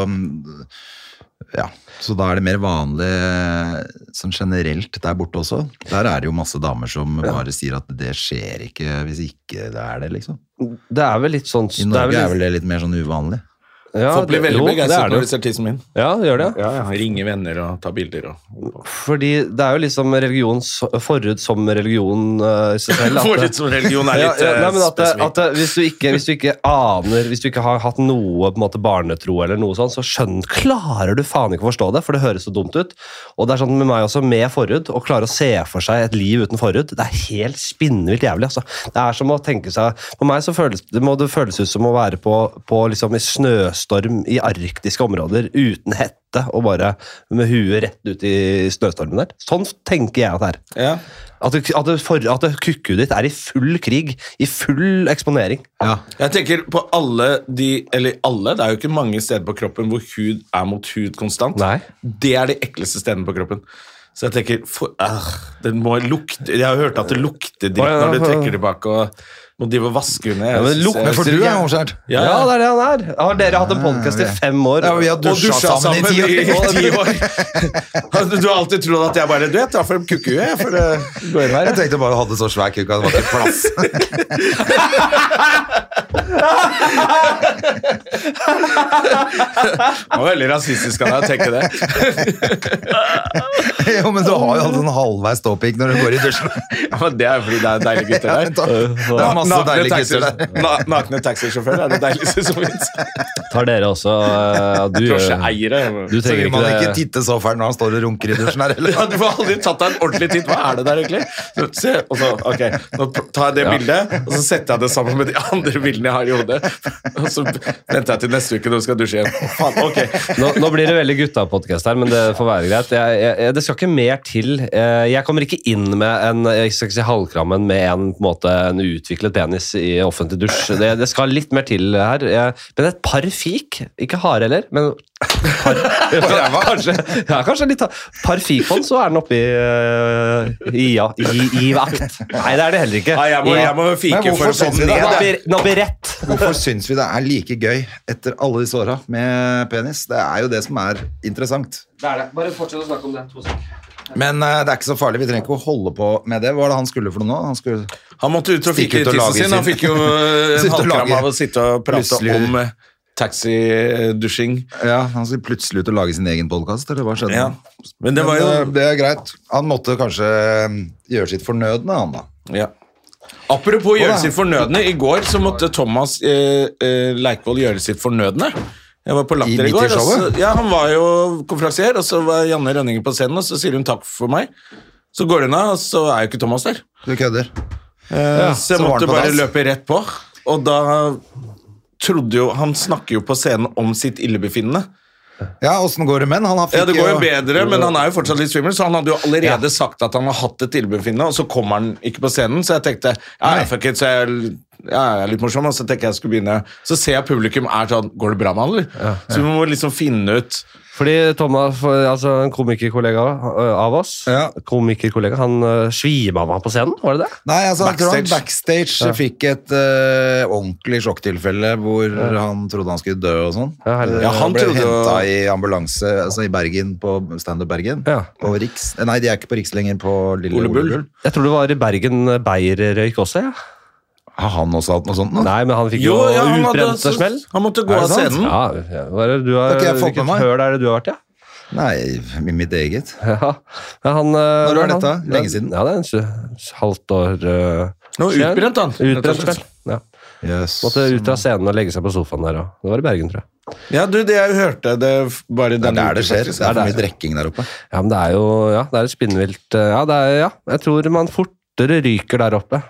Speaker 3: mm, Ja, så da er det mer vanlig sånn generelt der borte også. Der er det jo masse damer som bare sier at det skjer ikke hvis ikke det er det, liksom.
Speaker 2: Det er vel litt sånn
Speaker 3: I Norge er vel det litt mer sånn uvanlig. sånn.
Speaker 2: ja,
Speaker 1: Folk blir
Speaker 2: det-
Speaker 1: veldig
Speaker 2: jo, det er
Speaker 1: begeistret
Speaker 2: det
Speaker 1: når
Speaker 2: jo.
Speaker 1: de ser tissen min.
Speaker 2: Ja, det gjør det.
Speaker 1: Ja, ja, Ringe venner og ta bilder og
Speaker 2: Fordi det er jo liksom religion s- forut som religion eh, i seg selv. at-
Speaker 1: Forut som religion er litt eh,
Speaker 2: ja, ja, nei, men at, det-
Speaker 1: spesifikt.
Speaker 2: at det- hvis, du ikke, hvis du ikke aner Hvis du ikke har hatt noe på en måte barnetro, eller noe sånt, så skjønn, klarer du faen ikke å forstå det, for det høres så dumt ut. Og det er sånn med meg også, med forhud, å klare å se for seg et liv uten forhud, det er helt spinnvilt jævlig. Altså. Det er som å tenke seg For meg så føles det, må det føles ut som å være på, på liksom i snøstorm i arktiske områder uten hette og bare med huet rett ut i snøstormen der. Sånn tenker jeg at det er.
Speaker 1: Ja.
Speaker 2: At, det, at, det for, at det kukkuet ditt er i full krig, i full eksponering.
Speaker 3: Ja,
Speaker 1: Jeg tenker på alle de Eller alle, det er jo ikke mange steder på kroppen hvor hud er mot hud konstant.
Speaker 2: Nei.
Speaker 1: Det er de ekleste stedene på kroppen. Så jeg tenker for, ah, det må lukte, Jeg har hørt at det lukter dritt
Speaker 2: Ja, ja,
Speaker 1: når du
Speaker 2: ja.
Speaker 1: trekker tilbake og må drive og vaske under. Jeg
Speaker 2: men
Speaker 1: synes-
Speaker 2: lukter
Speaker 1: jeg-
Speaker 3: for du er hårskjær.
Speaker 1: Ja,
Speaker 2: Ja,
Speaker 1: ja.
Speaker 2: det er det han er. Har dere hatt en podkast i fem år?
Speaker 3: Ja, vi har
Speaker 1: og
Speaker 3: dusja sammen, i ti år.
Speaker 1: ti år. Altså, Du har alltid trodd at jeg bare Du, jeg tar frem kukkehue, jeg, for det går inn her.
Speaker 3: Jeg tenkte bare å ha det så svær kuk at det var ikke plass.
Speaker 1: Det var veldig rasistisk av deg å tenke det.
Speaker 3: jo, men du har jo alltid en halvveis ståpikk når du går i dusjen.
Speaker 1: Ja, men det er jo fordi det er deilige gutter
Speaker 3: Ja,
Speaker 1: der.
Speaker 3: men takk. Det er masse
Speaker 1: Nakne
Speaker 3: deilige gutter
Speaker 1: taxi-
Speaker 3: der.
Speaker 1: na- Nakne taxisjåfører er det deiligste som fins.
Speaker 2: Tar dere også eh, du,
Speaker 1: Drosjeeiere.
Speaker 2: du
Speaker 3: Så
Speaker 2: trenger
Speaker 3: vil man ikke
Speaker 2: ikke det.
Speaker 3: titte så fælt når han står og runker i dusjen her, eller?
Speaker 1: Ja, du får aldri tatt deg en ordentlig titt. Hva er det der, egentlig? Så, se, og så, ok, Nå tar jeg det bildet, og så setter jeg det sammen med de andre bildene jeg har i hodet. Og så venter jeg til neste uke når du skal dusje igjen. Å, faen, ok.
Speaker 2: Nå, nå blir det veldig gutta-podkast her, men det får være greit. Jeg, jeg, jeg, det skal ikke mer til. Eh, Jeg kommer ikke inn med en jeg skal ikke si halvkrammen med en, på en, måte, en utviklet penis i offentlig dusj. Det, det skal litt mer til her. Jeg, men et par fik. Ikke harde heller, men kanskje, ja, kanskje litt Par fikon, så er den oppe i øh, i, ja, i, i vakt. Nei, det er det heller ikke.
Speaker 1: Nei, jeg må, jeg må
Speaker 3: Men
Speaker 1: fike
Speaker 3: hvorfor
Speaker 1: for å få
Speaker 3: setter vi
Speaker 1: den
Speaker 3: det
Speaker 2: Den
Speaker 1: ned.
Speaker 3: her?
Speaker 2: oppi- den oppi rett.
Speaker 3: Hvorfor syns vi det er like gøy etter alle disse åra med penis? Det er jo det som er interessant.
Speaker 2: Bare fortsett å snakke om det.
Speaker 3: Men eh, det er ikke så farlig. Vi trenger ikke å holde på med det. Hva var det han skulle for noe nå? Han skulle
Speaker 1: Han måtte ut og
Speaker 3: Stikke
Speaker 1: fike
Speaker 3: ut og
Speaker 1: tissen
Speaker 3: lage
Speaker 1: sin. Han
Speaker 3: sin.
Speaker 1: fikk jo eh, en
Speaker 3: Sitte og
Speaker 1: halvkram
Speaker 3: lage.
Speaker 1: av å sitte og prate
Speaker 3: Plutselig.
Speaker 1: om eh, taxidusjing.
Speaker 3: Ja, han skulle plutselig ut og lage sin egen podkast, eller hva skjedde?
Speaker 1: Ja. Men det var jo
Speaker 3: Men, eh, det er greit. Han måtte kanskje eh, gjøre sitt fornødne, han da.
Speaker 1: Ja. Apropos
Speaker 3: da?
Speaker 1: gjøre sitt fornødne. I går så måtte Thomas eh, eh, Leikvoll gjøre sitt fornødne. Jeg var på Latter
Speaker 3: I-
Speaker 1: i går.
Speaker 3: midt i
Speaker 1: Og så,
Speaker 3: showet?
Speaker 1: ja, han var jo konferansier, og så var Janne Rønningen på scenen, og så sier hun takk for meg. Så går hun av, og så er jo ikke Thomas der.
Speaker 3: Du kødder.
Speaker 1: Eh, så
Speaker 3: så
Speaker 1: jeg
Speaker 3: var
Speaker 1: måtte
Speaker 3: han på
Speaker 1: bare
Speaker 3: dass.
Speaker 1: løpe rett på. Og da trodde jo Han snakker jo på scenen om sitt illebefinnende.
Speaker 3: Ja, åssen går det med han? Han fikk
Speaker 1: Ja, Det går jo
Speaker 3: jo-
Speaker 1: bedre, men han er jo fortsatt litt svimmel, så han hadde jo allerede sagt at han har hatt et illebefinnende, og så kommer han ikke på scenen, så jeg tenkte ja,
Speaker 3: Nei.
Speaker 1: fuck it, så jeg, ja, jeg er litt morsom, og så tenker jeg jeg skulle begynne Så ser jeg publikum er sånn Går det bra med han, eller? Så vi må liksom finne ut
Speaker 2: Fordi Thomas, for- altså en komikerkollega øh, av oss,
Speaker 3: Ja.
Speaker 2: komikerkollega, han øh, svima av på scenen, var det det?
Speaker 3: Nei, altså, jeg tror han
Speaker 1: Backstage.
Speaker 3: backstage fikk et eh, ordentlig sjokktilfelle hvor han trodde han skulle dø og sånn.
Speaker 2: Ja, herregud.
Speaker 3: Eh,
Speaker 1: Ja, han
Speaker 3: ble
Speaker 1: trodde jo-
Speaker 3: henta i ambulanse altså i Bergen, på Standup Bergen.
Speaker 2: Ja.
Speaker 3: På Riks. Eh, Nei, de er ikke på Riks lenger, på Lille
Speaker 1: Ole
Speaker 3: Ole
Speaker 1: Bull.
Speaker 3: Bull.
Speaker 2: Jeg tror det var i Bergen øh, Beyer røyk også, ja.
Speaker 3: Har han også hatt noe sånt nå?
Speaker 2: Nei, men han fikk jo, utbrent og smell.
Speaker 1: han måtte gå
Speaker 3: Er det
Speaker 1: av
Speaker 3: sant?
Speaker 1: scenen.
Speaker 2: Ja, ja. Hva er det du har,
Speaker 3: Det har ikke jeg fått med
Speaker 2: hvilket
Speaker 3: meg.
Speaker 2: høl er det du har vært, ja?
Speaker 3: Nei, i mitt eget.
Speaker 2: Ja, ja, han, Når
Speaker 3: var dette? Lenge siden?
Speaker 2: Ja, det er en s- halvt år eh,
Speaker 1: Nå
Speaker 2: siden.
Speaker 1: utbrent han, rett og
Speaker 2: Utbrent,
Speaker 1: slett.
Speaker 2: vel. Ja.
Speaker 3: Yes.
Speaker 2: Måtte ut av scenen og legge seg på sofaen der òg. Det var i Bergen, tror jeg.
Speaker 1: Ja, du, det jeg hørte det f- bare
Speaker 3: Det
Speaker 1: denne
Speaker 3: er der det
Speaker 1: uken,
Speaker 3: skjer.
Speaker 1: faktisk.
Speaker 3: Det er
Speaker 2: Det
Speaker 3: for
Speaker 2: er
Speaker 3: mye drikking der oppe.
Speaker 2: Ja, men det er jo ja, det er et spinnvilt eh, ja, det er, ja, jeg tror man fortere ryker der oppe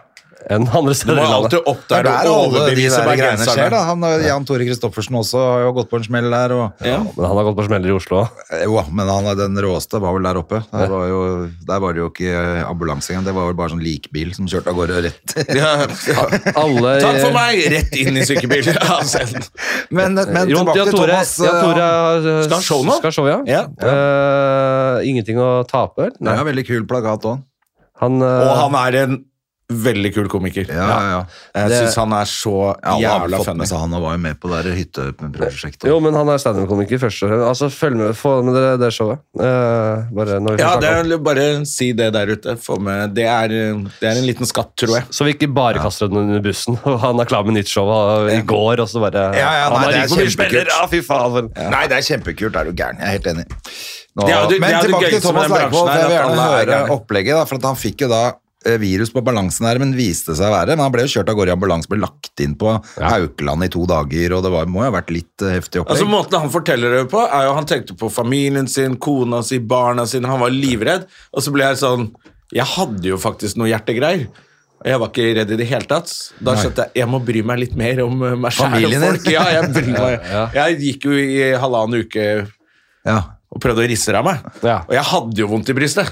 Speaker 2: enn andre
Speaker 1: Du
Speaker 2: steder
Speaker 1: må
Speaker 2: i landet.
Speaker 1: alltid opp
Speaker 3: Det er
Speaker 1: der
Speaker 3: der
Speaker 1: og
Speaker 3: alle de
Speaker 1: overbevise
Speaker 3: der greiene skjer.
Speaker 1: bergenserne.
Speaker 3: da. Han, eh, Jan Tore Christoffersen også har jo gått på en smell der. Og,
Speaker 1: Ja.
Speaker 2: Men han har gått på smeller i Oslo òg.
Speaker 3: Eh, Jo, men han, er den råeste var vel der oppe. Der var, jo, der var det jo ikke eh, ambulanse engang. Det var vel bare sånn likbil som kjørte av gårde rett.
Speaker 1: Ja.
Speaker 2: Alle
Speaker 1: Takk for meg! Rett inn i sykebilen. Ja, scenen.
Speaker 3: Men,
Speaker 1: eh,
Speaker 3: men
Speaker 2: Jon,
Speaker 3: Eh, tilbake
Speaker 2: Jan
Speaker 3: til
Speaker 2: Tore,
Speaker 3: Thomas.
Speaker 2: Jan Tore
Speaker 3: eh,
Speaker 2: har, eh,
Speaker 1: Skal han show nå?
Speaker 2: Skal show, ja.
Speaker 1: Ja.
Speaker 2: Eh, ingenting å tape, vel?
Speaker 3: han har veldig kul plakat òg.
Speaker 2: Han, eh,
Speaker 1: Og han er en Veldig kul komiker.
Speaker 3: Ja, ja, ja.
Speaker 1: Jeg
Speaker 2: Det-
Speaker 1: Eh, syns han er så
Speaker 3: Alle har
Speaker 1: jævla
Speaker 3: fått
Speaker 1: funny.
Speaker 3: med seg han og var jo med på det der hytteprosjektet.
Speaker 2: Jo, men han er standup-komiker først og fremst. Altså, følg med, få med det, det showet. Eh, bare når vi får
Speaker 1: Ja,
Speaker 2: snakke
Speaker 1: det
Speaker 2: om
Speaker 1: er, bare si det der ute. Få med. Det er, eh, det er en liten skatt, tror jeg.
Speaker 2: Så vi ikke bare kaster den under bussen. Og han er klar med nytt show og- i går, og så bare
Speaker 3: Ja, ja, nei,
Speaker 2: Han
Speaker 3: det er
Speaker 2: rik på mye
Speaker 3: kjempekult.
Speaker 2: spillere, ja, fy faen! for-
Speaker 3: Nei, det er kjempekult. Er du gæren? Jeg er helt enig. Nå,
Speaker 1: Det er jo det- det
Speaker 3: men
Speaker 1: er jo det
Speaker 3: tilbake til
Speaker 1: gøyeste med
Speaker 3: Thomas
Speaker 1: den
Speaker 3: Leikvoll.
Speaker 1: bransjen
Speaker 3: for
Speaker 1: her,
Speaker 3: Jeg vil
Speaker 1: at
Speaker 3: gjerne
Speaker 1: alle er
Speaker 3: høre
Speaker 1: gæren.
Speaker 3: opplegget, da, for at han fikk jo da eh, virus på balansen her, men viste seg å være. Men han ble jo kjørt av gårde i ambulanse, ble lagt inn på Haukeland i to dager, og det var, må jo ha vært litt eh, heftig opplegg.
Speaker 1: Altså Måten han forteller det på, er jo han tenkte på familien sin, kona si, barna sine. Han var livredd. Og så ble jeg sånn Jeg hadde jo faktisk noe hjertegreier. Og jeg var ikke redd i det hele tatt. Da skjønte jeg jeg må bry meg litt mer om eh, meg sjæl og
Speaker 3: Familien din.
Speaker 1: folk. Ja, jeg, bryr meg. jeg gikk jo i halvannen uke
Speaker 3: ja.
Speaker 1: og prøvde å risse av meg.
Speaker 2: Ja.
Speaker 1: Og jeg hadde jo vondt i brystet.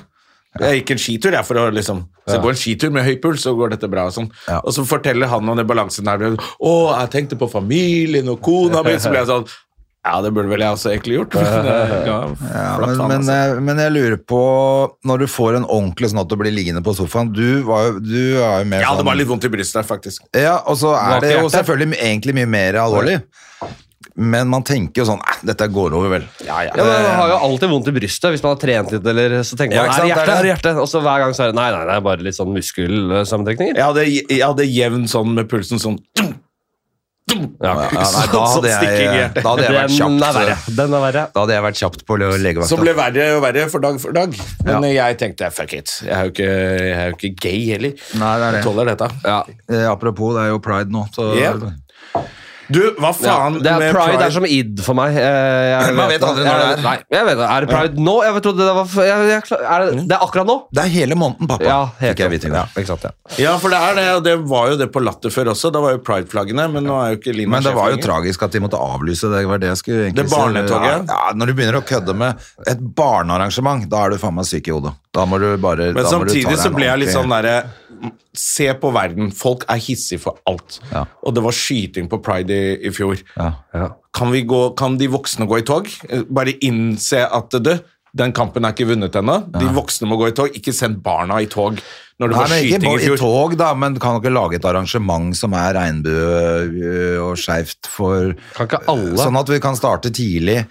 Speaker 1: Jeg gikk en skitur jeg, for å liksom Se på en skitur med høy puls, så går dette bra. Og sånn
Speaker 3: Ja.
Speaker 1: Og så forteller han om det balansenervet. 'Å, jeg tenkte på familien og kona mi.' Så ble jeg sånn Ja, det burde vel jeg også egentlig gjort. Men, eh, ja,
Speaker 3: Ja,
Speaker 1: flatt
Speaker 3: men,
Speaker 1: faen,
Speaker 3: men,
Speaker 1: altså.
Speaker 3: eh, men jeg lurer på Når du får en ordentlig sånn at du blir liggende på sofaen Du var jo, du er jo mer
Speaker 1: jeg hadde
Speaker 3: sånn
Speaker 1: bare litt vondt i brystet, faktisk.
Speaker 3: Ja, og så
Speaker 2: har
Speaker 3: er det
Speaker 2: ikke
Speaker 3: jo
Speaker 2: hjerte?
Speaker 3: selvfølgelig egentlig mye mer alvorlig. Men man tenker jo sånn "Eh, Dette går over, vel.
Speaker 2: Ja, men Man har jo alltid vondt i brystet hvis man har trent litt. eller så tenker
Speaker 3: Eh, Ja,
Speaker 2: man,
Speaker 3: ikke
Speaker 2: er
Speaker 3: sant,
Speaker 2: det hjerte,
Speaker 3: det er
Speaker 2: er det hjerte? Og så hver gang så er det nei, nei, det er bare litt sånn muskelsammentrekninger.
Speaker 1: Jeg hadde, jeg hadde jevn sånn med pulsen sånn dum, dum.
Speaker 2: Ja, ok.
Speaker 3: Ja, nei, da,
Speaker 1: Sånn
Speaker 3: hadde jeg,
Speaker 1: stikking i hjertet.
Speaker 3: da hadde jeg vært
Speaker 2: Den er verre.
Speaker 3: kjapt.
Speaker 2: Den er verre.
Speaker 3: Da hadde jeg vært kjapt på le- legevakta.
Speaker 1: Som ble verre og verre for dag for dag. Men jeg tenkte fuck it. Jeg er jo ikke, jeg er jo ikke gay heller.
Speaker 3: Nei, det er det.
Speaker 1: Jeg tåler dette.
Speaker 2: Ja.
Speaker 3: Eh, apropos, det er jo pride nå. Så,
Speaker 1: Ja. Du, hva faen
Speaker 2: det er
Speaker 1: med
Speaker 2: pride, er som id for meg. Eh, Jeg
Speaker 3: Man vet aldri når
Speaker 2: jeg-
Speaker 3: det er.
Speaker 2: Nei, jeg vet, det. er det pride nå? Jeg trodde det var f- jeg, jeg, klar- er det,
Speaker 3: Mm.
Speaker 2: det er akkurat nå.
Speaker 3: Det er hele måneden, pappa.
Speaker 2: Ja, helt
Speaker 3: fikk jeg vite i
Speaker 2: ja,
Speaker 3: går.
Speaker 2: ikke sant, ja.
Speaker 1: Ja, for det er det, og det var jo det på Latter før også. Da var jo Pride-flaggene, men nå er jo ikke Lina
Speaker 3: Men det
Speaker 1: sjef
Speaker 3: var jo
Speaker 1: lenger.
Speaker 3: tragisk at de måtte avlyse. Det var det jeg skulle egentlig
Speaker 1: Det
Speaker 3: si.
Speaker 1: barnetoget?
Speaker 3: Ja, ja, når du begynner å kødde med et barnearrangement, da er du faen meg syk i hodet. Da må du bare
Speaker 1: Men
Speaker 3: da må du ta
Speaker 1: samtidig
Speaker 3: deg
Speaker 1: så
Speaker 3: en
Speaker 1: ble jeg litt
Speaker 3: ordentlig-
Speaker 1: sånn derre Se på verden. Folk er hissige for alt.
Speaker 3: Ja.
Speaker 1: Og det var skyting på pride i, i fjor.
Speaker 3: ja.
Speaker 1: Kan, vi gå, kan de voksne gå i tog? Eh, Bare innse at du den kampen er ikke vunnet ennå. De voksne må gå i tog. Ikke send barna i tog når det
Speaker 3: Nei,
Speaker 1: var
Speaker 3: men ikke
Speaker 1: skyting i
Speaker 3: på- i
Speaker 1: fjor.
Speaker 3: tog, da, men kan dere lage et arrangement som er regnbue ø, og skeivt for
Speaker 2: Kan ikke alle-
Speaker 3: Sånn at vi kan starte tidlig,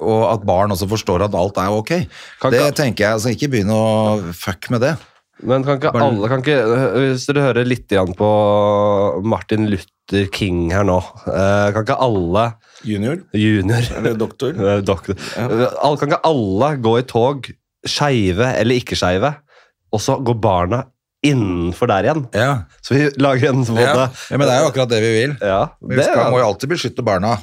Speaker 3: og at barn også forstår at alt er ok.
Speaker 2: Kan
Speaker 3: det
Speaker 2: ikke-
Speaker 3: tenker jeg, altså ikke begynne å fuck med det.
Speaker 2: Men kan ikke alle kan ikke, Hvis dere hører litt igjen på Martin Luther King her nå eh, Kan ikke alle
Speaker 1: Junior?
Speaker 2: junior
Speaker 1: Eller doktor?
Speaker 2: Eh, Doktor. Eh, alle- Kan ikke alle gå i tog, skeive eller ikke skeive, og så går barna innenfor der igjen?
Speaker 3: Ja.
Speaker 2: Så vi lager en sånn
Speaker 3: ja,
Speaker 2: måte
Speaker 3: men det er jo akkurat det vi vil.
Speaker 2: Ja,
Speaker 3: Vi
Speaker 2: det,
Speaker 3: skal, må jo alltid beskytte barna.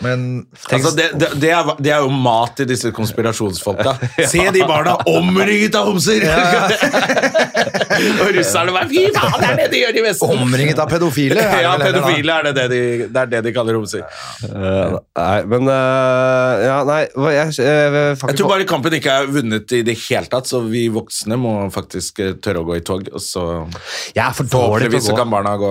Speaker 3: Men
Speaker 1: Altså, det, det, det, er, det er jo mat til disse konspirasjonsfolka. Se de barna omringet av homser! og russerne bare Fy faen, det er det de gjør i Vesten!
Speaker 3: omringet av pedofile! er det vel
Speaker 1: ja,
Speaker 3: heller, da.
Speaker 1: pedofile er det det de, det er det de kaller homser.
Speaker 2: Eh, nei, men eh, Ja, nei hva- jeg, jeg,
Speaker 1: Jeg tror bare kampen ikke er vunnet i det hele tatt, så vi voksne må faktisk eh, tørre å gå i tog. Og så
Speaker 2: jeg er for dårlig
Speaker 1: forhåpentligvis så
Speaker 2: til å gå.
Speaker 1: kan barna gå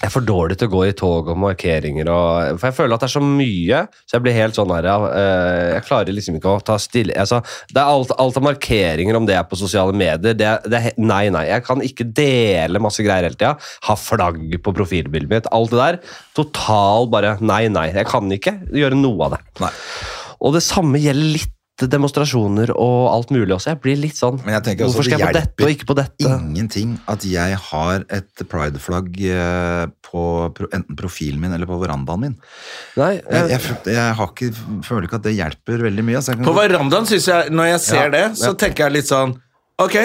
Speaker 2: Jeg er for dårlig til å gå i tog og markeringer og For jeg føler at det er så mye, så jeg blir helt sånn her ja, eh, Jeg klarer liksom ikke å ta stille altså, Det er alt, alt av markeringer om det er på sosiale medier. Det, er- det er, he- nei, nei. Jeg kan ikke dele masse greier hele tida. Ha flagg på profilbildet mitt. Alt det der. Total bare Nei, nei. Jeg kan ikke gjøre noe av det.
Speaker 3: Nei.
Speaker 2: Og det samme gjelder litt demonstrasjoner og alt mulig også. Jeg blir litt sånn
Speaker 3: Men jeg tenker også
Speaker 2: Hvorfor skal
Speaker 3: det
Speaker 2: jeg på dette
Speaker 3: hjelper
Speaker 2: og ikke på dette?
Speaker 3: ingenting at jeg har et prideflagg eh, på pro- enten profilen min eller på verandaen min.
Speaker 2: Nei,
Speaker 3: Jeg, jeg, f- jeg har ikke, føler ikke at det hjelper veldig mye. Altså jeg kan,
Speaker 1: På verandaen synes jeg, når jeg ser
Speaker 3: Ja,
Speaker 1: det, så tenker jeg litt sånn Ok,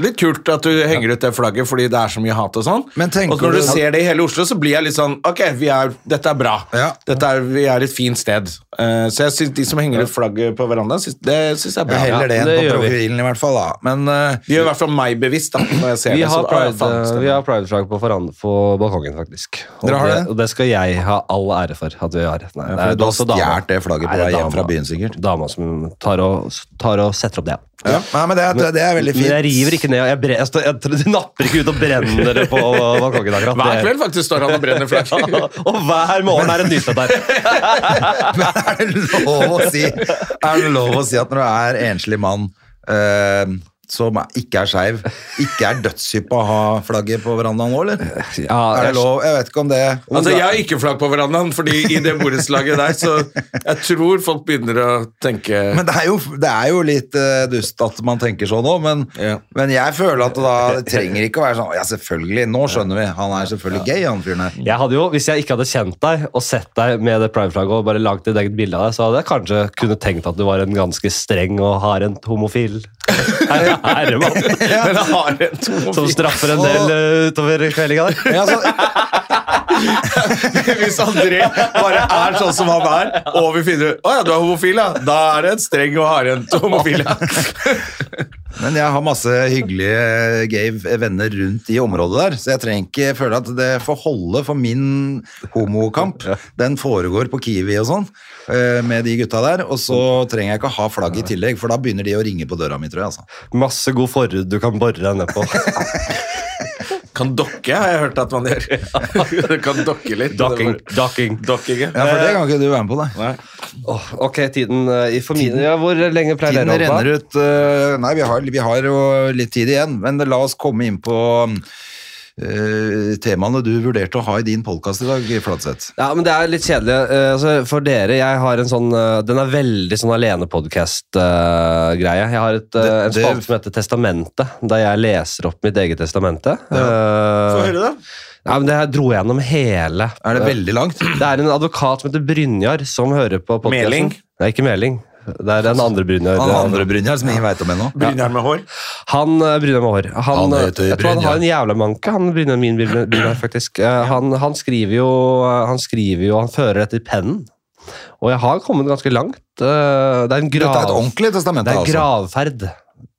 Speaker 1: litt kult at du henger ut det flagget fordi det er så mye hat og sånn.
Speaker 3: Men tenker
Speaker 1: og når
Speaker 3: du-
Speaker 1: du ser det i hele Oslo, så blir jeg litt sånn Ok, vi er, dette er bra.
Speaker 3: Ja.
Speaker 1: Dette er, vi er et fint sted. Eh, så jeg synes de som henger ut flagget på verandaen, synes, det syns jeg er bra.
Speaker 3: jeg heller det
Speaker 2: Ja,
Speaker 3: enn
Speaker 2: det
Speaker 3: på
Speaker 2: gjør vi.
Speaker 3: profilen, i hvert fall. Da. Men eh,
Speaker 1: De gjør i hvert fall meg bevisst, da, når jeg ser
Speaker 2: Vi
Speaker 1: det. så,
Speaker 2: har,
Speaker 1: ah, faen,
Speaker 2: pride, eh,
Speaker 1: stemmer.
Speaker 2: vi har prideflagg på, foran- på balkongen, faktisk. Og
Speaker 3: Dere har det?
Speaker 2: og det skal jeg ha all ære for at vi har. Nei, det er
Speaker 3: du har
Speaker 2: også dama.
Speaker 3: stjålet det flagget på
Speaker 2: Nei, det er
Speaker 3: vei hjem
Speaker 2: dama-
Speaker 3: fra byen, sikkert.
Speaker 2: Dama som tar og, tar og setter opp det.
Speaker 3: ja. Nei, men det, er- det er veldig
Speaker 2: Men
Speaker 3: fint.
Speaker 2: jeg river ikke ned. og Jeg, bre, jeg, står- jeg, jeg napper ikke ut og brenner det på balkongen akkurat.
Speaker 1: Hver
Speaker 2: Det-
Speaker 1: kveld faktisk står han og brenner flagg.
Speaker 2: og hver morgen er det nytt der.
Speaker 3: er, det lov å si, er det lov å si at når du er enslig mann eh, som er- ikke er skeiv, ikke er dødshypp å ha flagget på verandaen nå, eller?
Speaker 2: Ja,
Speaker 3: Er det
Speaker 2: jeg-
Speaker 3: lov? Jeg vet ikke om det om
Speaker 1: Altså,
Speaker 3: det-
Speaker 1: Jeg har ikke flagg på verandaen, fordi i det borettslaget der, så jeg tror folk begynner å tenke
Speaker 3: Men det er jo, det er jo litt eh, dust at man tenker sånn òg, men,
Speaker 1: Ja.
Speaker 3: men jeg føler at det da det trenger ikke å være sånn Ja, selvfølgelig, nå skjønner vi. Han er selvfølgelig gay, han fyren her.
Speaker 2: Jeg hadde jo, Hvis jeg ikke hadde kjent deg og sett deg med det prideflagget og bare laget et eget bilde av deg, så hadde jeg kanskje kunne tenkt at du var en ganske streng og hardhendt homofil herremann
Speaker 1: Dere har en
Speaker 2: som
Speaker 1: tomofil.
Speaker 2: straffer en del eh, utover kveldinga der.
Speaker 3: Ja, så,
Speaker 1: Hvis André bare er sånn som han er, og vi finner ut Å ja, du er homofil, ja. Da er det en streng og hardhendt homofil. Ja.
Speaker 3: Men jeg har masse hyggelige gay venner rundt i området der, så jeg trenger ikke føle at det får holde for min homokamp. Den foregår på Kiwi og sånn, eh, med de gutta der, og så trenger jeg ikke ha flagg i tillegg, for da begynner de å ringe på døra mi, tror jeg, altså.
Speaker 2: Masse god forhud du kan bore deg ned på.
Speaker 1: Kan dokke, har jeg hørt at man gjør. Du kan dokke litt.
Speaker 2: Docking. docking.
Speaker 1: Dokking, ja.
Speaker 3: Ja, for det kan ikke du være med på, nei.
Speaker 2: Åh, ok, tiden eh, i familien ja, Hvor lenge pleier
Speaker 3: Tiden
Speaker 2: dere å
Speaker 3: renner
Speaker 2: holde på?
Speaker 3: ut eh, Nei, vi har, vi har jo litt tid igjen, men la oss komme inn på eh, temaene du vurderte å ha i din podkast i dag, Flatseth.
Speaker 2: Ja, men det er litt kjedelig. eh, altså, for dere, jeg har en sånn eh, Den er veldig sånn alene-podkast-greie. jeg har et, eh, en
Speaker 3: Det- det-
Speaker 2: spalte som heter Testamentet, der jeg leser opp mitt eget testamente. Eh,
Speaker 1: Få høre, da.
Speaker 2: ja, men det her dro jeg gjennom hele. eh,
Speaker 3: Er det veldig langt?
Speaker 2: Det er en advokat som heter Brynjar, som hører på podkasten.
Speaker 1: Meling?
Speaker 2: Nei, ikke Meling. Det er den andre Brynjar.
Speaker 3: Han andre Brynjar, som ingen veit om ennå.
Speaker 1: Brynjar med hår.
Speaker 2: Han eh, Brynjar med hår. Han,
Speaker 3: Han
Speaker 2: eh,
Speaker 3: heter
Speaker 2: jeg tror han
Speaker 3: Brynjar.
Speaker 2: har en jævla manke, han Brynjar min Brynjar, Brynjar, faktisk. Eh, Han, han skriver jo eh, Han skriver jo, han fører dette i pennen. Og jeg har kommet ganske langt. Eh, Det er en,
Speaker 3: Dette er et
Speaker 2: grav,
Speaker 3: ordentlig testament,
Speaker 2: det er en
Speaker 3: altså.
Speaker 2: gravferd.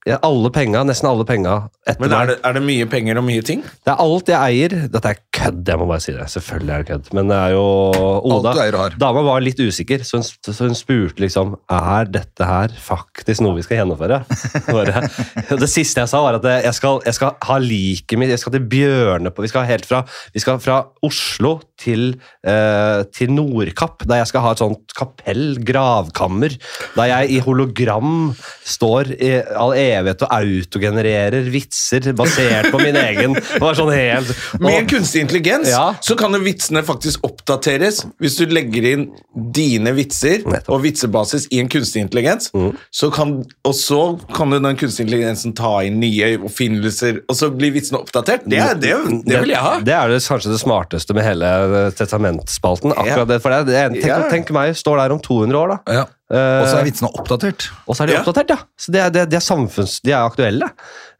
Speaker 2: Ja, alle penga, nesten alle penga etter
Speaker 1: Men
Speaker 2: meg.
Speaker 1: er det, er det mye penger og mye ting?
Speaker 2: Det er alt jeg eier. Dette er kødd, jeg må bare si det. Selvfølgelig er det kødd. Men det er jo Oda.
Speaker 3: Alt du eier og har.
Speaker 2: Dama var litt usikker, så hun, så hun spurte liksom Er dette her faktisk noe vi skal gjennomføre. Bare, det siste jeg sa, var at jeg skal, jeg skal ha liket mitt Jeg skal til Bjørne på Vi skal helt fra, vi skal fra Oslo til, eh, til Nordkapp, der jeg skal ha et sånt kapell, gravkammer, der jeg i hologram står i all evighet og autogenererer vitser basert på min egen. Det var sånn helt
Speaker 1: Med
Speaker 2: og-
Speaker 1: kunstig intelligens
Speaker 2: Ja.
Speaker 1: så kan jo vitsene faktisk oppdateres. Hvis du legger inn dine vitser
Speaker 2: Nettopp. Mm.
Speaker 1: og vitsebasis i en kunstig intelligens, så kan, og så kan du den kunstige intelligensen ta inn nye oppfinnelser, og så blir vitsene oppdatert. Det, er, det, det vil jeg ha.
Speaker 2: Det er det, kanskje det smarteste med hele eh, testamentspalten. akkurat
Speaker 1: Ja.
Speaker 2: det, for det, er- det, er- tenk,
Speaker 1: Ja.
Speaker 2: tenk meg, står der om 200 år, da. Eh,
Speaker 3: Ja. Og så er vitsene oppdatert.
Speaker 2: Og så er de
Speaker 1: Ja.
Speaker 2: oppdatert, ja. Så det er, det, det er samfunns... De er aktuelle.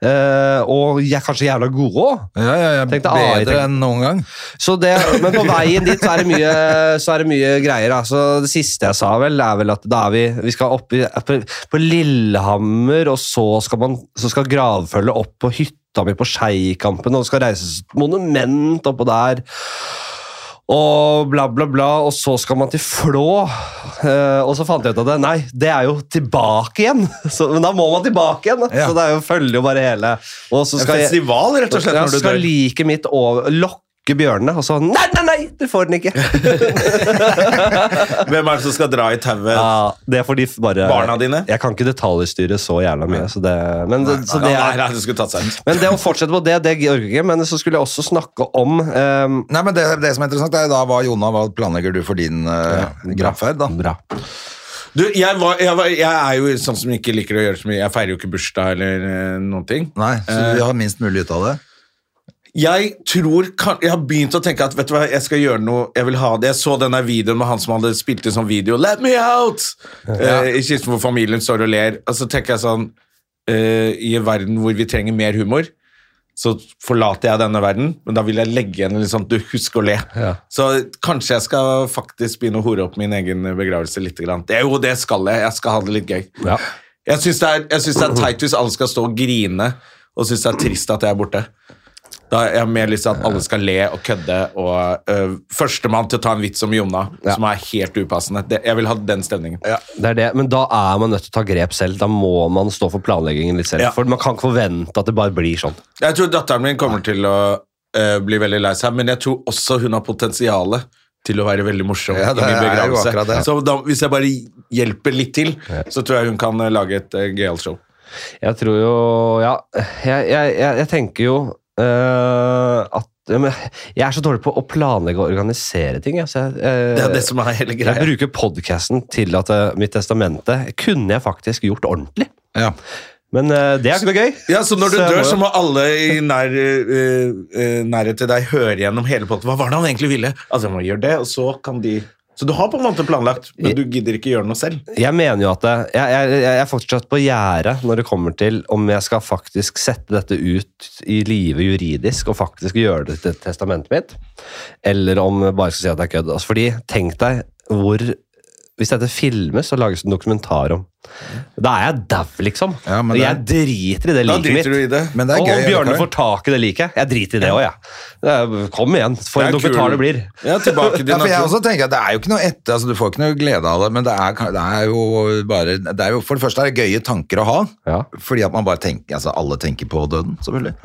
Speaker 2: Eh, og jeg er kanskje jævla gode òg.
Speaker 3: Ja, ja, ja.
Speaker 2: Tenk deg AI,
Speaker 3: Bedre
Speaker 2: tenk.
Speaker 3: enn noen gang.
Speaker 2: Så det, men på veien dit så er det mye, så er det mye greier. da. Så det siste jeg sa, vel, er vel at da er vi, vi skal opp i, på, på Lillehammer, og så skal, man, så skal gravfølget opp på hytta mi på Skeikampen, og det skal reises et monument oppå der. Og bla, bla, bla, og så skal man til Flå. Eh, og så fant jeg ut at det, nei, det er jo tilbake igjen! Så, men da må man tilbake igjen! da.
Speaker 3: Ja.
Speaker 2: Så det er jo følger jo bare hele. Og så
Speaker 1: En
Speaker 2: skal jeg,
Speaker 1: festival, rett og slett,
Speaker 2: ja,
Speaker 1: når du
Speaker 2: skal
Speaker 1: dør.
Speaker 2: like mitt over, lokke bjørnene, og så Nei, nei, nei! Du får den ikke!
Speaker 1: Hvem er det som skal dra i tauet?
Speaker 2: Ja, det er fordi f- bare
Speaker 1: Barna dine?
Speaker 2: Jeg kan ikke detaljstyre så jævla mye, så det Men, det, så
Speaker 1: nei,
Speaker 2: det
Speaker 1: nei,
Speaker 2: er,
Speaker 1: nei, det skulle tatt seg ut.
Speaker 2: men det å fortsette på det, det orker jeg ikke. Men så skulle jeg også snakke om ehm,
Speaker 3: Nei, men det, det som er interessant, er da hva Jonna, hva planlegger du for din uh, gravferd, da?
Speaker 2: Bra.
Speaker 1: Du, jeg, var, jeg, var, jeg er jo sånn som ikke liker å gjøre så mye. Jeg feirer jo ikke bursdag eller eh, noen ting.
Speaker 3: Nei, så
Speaker 1: Eh.
Speaker 3: vi har minst mulig ut av det.
Speaker 1: Jeg tror kan, Jeg har begynt å tenke at vet du hva, jeg skal gjøre noe Jeg vil ha det. Jeg så den der videoen med han som hadde spilt inn sånn video 'Let me out!' eh, i kisten hvor familien står og ler. Og så tenker jeg sånn eh, I en verden hvor vi trenger mer humor, så forlater jeg denne verden, men da vil jeg legge igjen litt sånn 'du, husk å le'.
Speaker 2: Ja.
Speaker 1: Så kanskje jeg skal faktisk begynne å hore opp min egen begravelse litt. Grann. Det, jo, det skal jeg. Jeg skal ha det litt gøy.
Speaker 2: Ja.
Speaker 1: Jeg syns det, er- jeg syns det er teit hvis alle skal stå og grine og synes det er trist at jeg er borte. Da har jeg mer lyst til at alle skal le og kødde og øh, Førstemann til å ta en vits om Jonna, som er helt upassende. Det, jeg vil ha den stemningen.
Speaker 2: Det er det, men da er man nødt til å ta grep selv. Da må man stå for planleggingen litt selv.
Speaker 1: Ja.
Speaker 2: For man kan ikke forvente at det bare blir sånn.
Speaker 1: Jeg tror datteren min kommer til å øh, bli veldig lei seg, men jeg tror også hun har potensialet til å være veldig morsom
Speaker 3: Ja, det
Speaker 1: i
Speaker 3: er
Speaker 1: min
Speaker 3: jo
Speaker 1: begravelse.
Speaker 3: akkurat det.
Speaker 1: Så da, hvis jeg bare hjelper litt til, så tror jeg hun kan øh, lage et uh, gøyalt show.
Speaker 2: Jeg tror jo Ja, jeg, jeg, jeg, jeg tenker jo eh, at ja, men Jeg er så dårlig på å planlegge og organisere ting. jeg, så jeg, eh,
Speaker 1: Det er det som er hele
Speaker 2: jeg
Speaker 1: greia.
Speaker 2: bruker podkasten til at eh, mitt testamente kunne jeg faktisk gjort ordentlig.
Speaker 3: Ja.
Speaker 2: Men eh, det er ikke noe gøy.
Speaker 1: Ja, Så når du
Speaker 2: Så jeg
Speaker 1: dør,
Speaker 2: må jo-
Speaker 1: så må alle i nær, eh, eh, nærhet til deg høre gjennom hele potten. Hva var det han egentlig ville? Altså, jeg må gjøre det, og så kan de... Så du har på en måte planlagt, men du gidder ikke gjøre noe selv.
Speaker 2: Jeg mener jo at det, jeg, jeg, jeg er fortsatt på gjerdet når det kommer til om jeg skal faktisk sette dette ut i live juridisk og faktisk gjøre det til testamentet mitt, eller om jeg bare skal si at det er kødd. Altså, fordi tenk deg hvor Hvis dette filmes og lages en dokumentar om,
Speaker 1: Mm.
Speaker 2: da er jeg dau, liksom.
Speaker 3: Ja, men
Speaker 2: Og
Speaker 3: det-
Speaker 2: jeg driter i det
Speaker 1: Da
Speaker 2: liket mitt.
Speaker 1: driter du i det.
Speaker 3: Men det er
Speaker 2: og
Speaker 3: gøy.
Speaker 2: om Bjørne
Speaker 3: allikevel.
Speaker 2: får tak i det liket. Jeg driter i det òg, jeg. Det er- Kom igjen, for
Speaker 1: Det er
Speaker 2: en dokumentar
Speaker 1: kul.
Speaker 2: det blir.
Speaker 1: Ja, tilbake til
Speaker 3: Ja, for jeg
Speaker 1: naturen.
Speaker 3: også tenker at det er jo ikke noe etter, altså du får ikke noe glede av det, men det er, det er jo bare, det er jo, for det første er det gøye tanker å ha,
Speaker 2: Ja.
Speaker 3: fordi at man bare tenker, altså alle tenker på døden, selvfølgelig.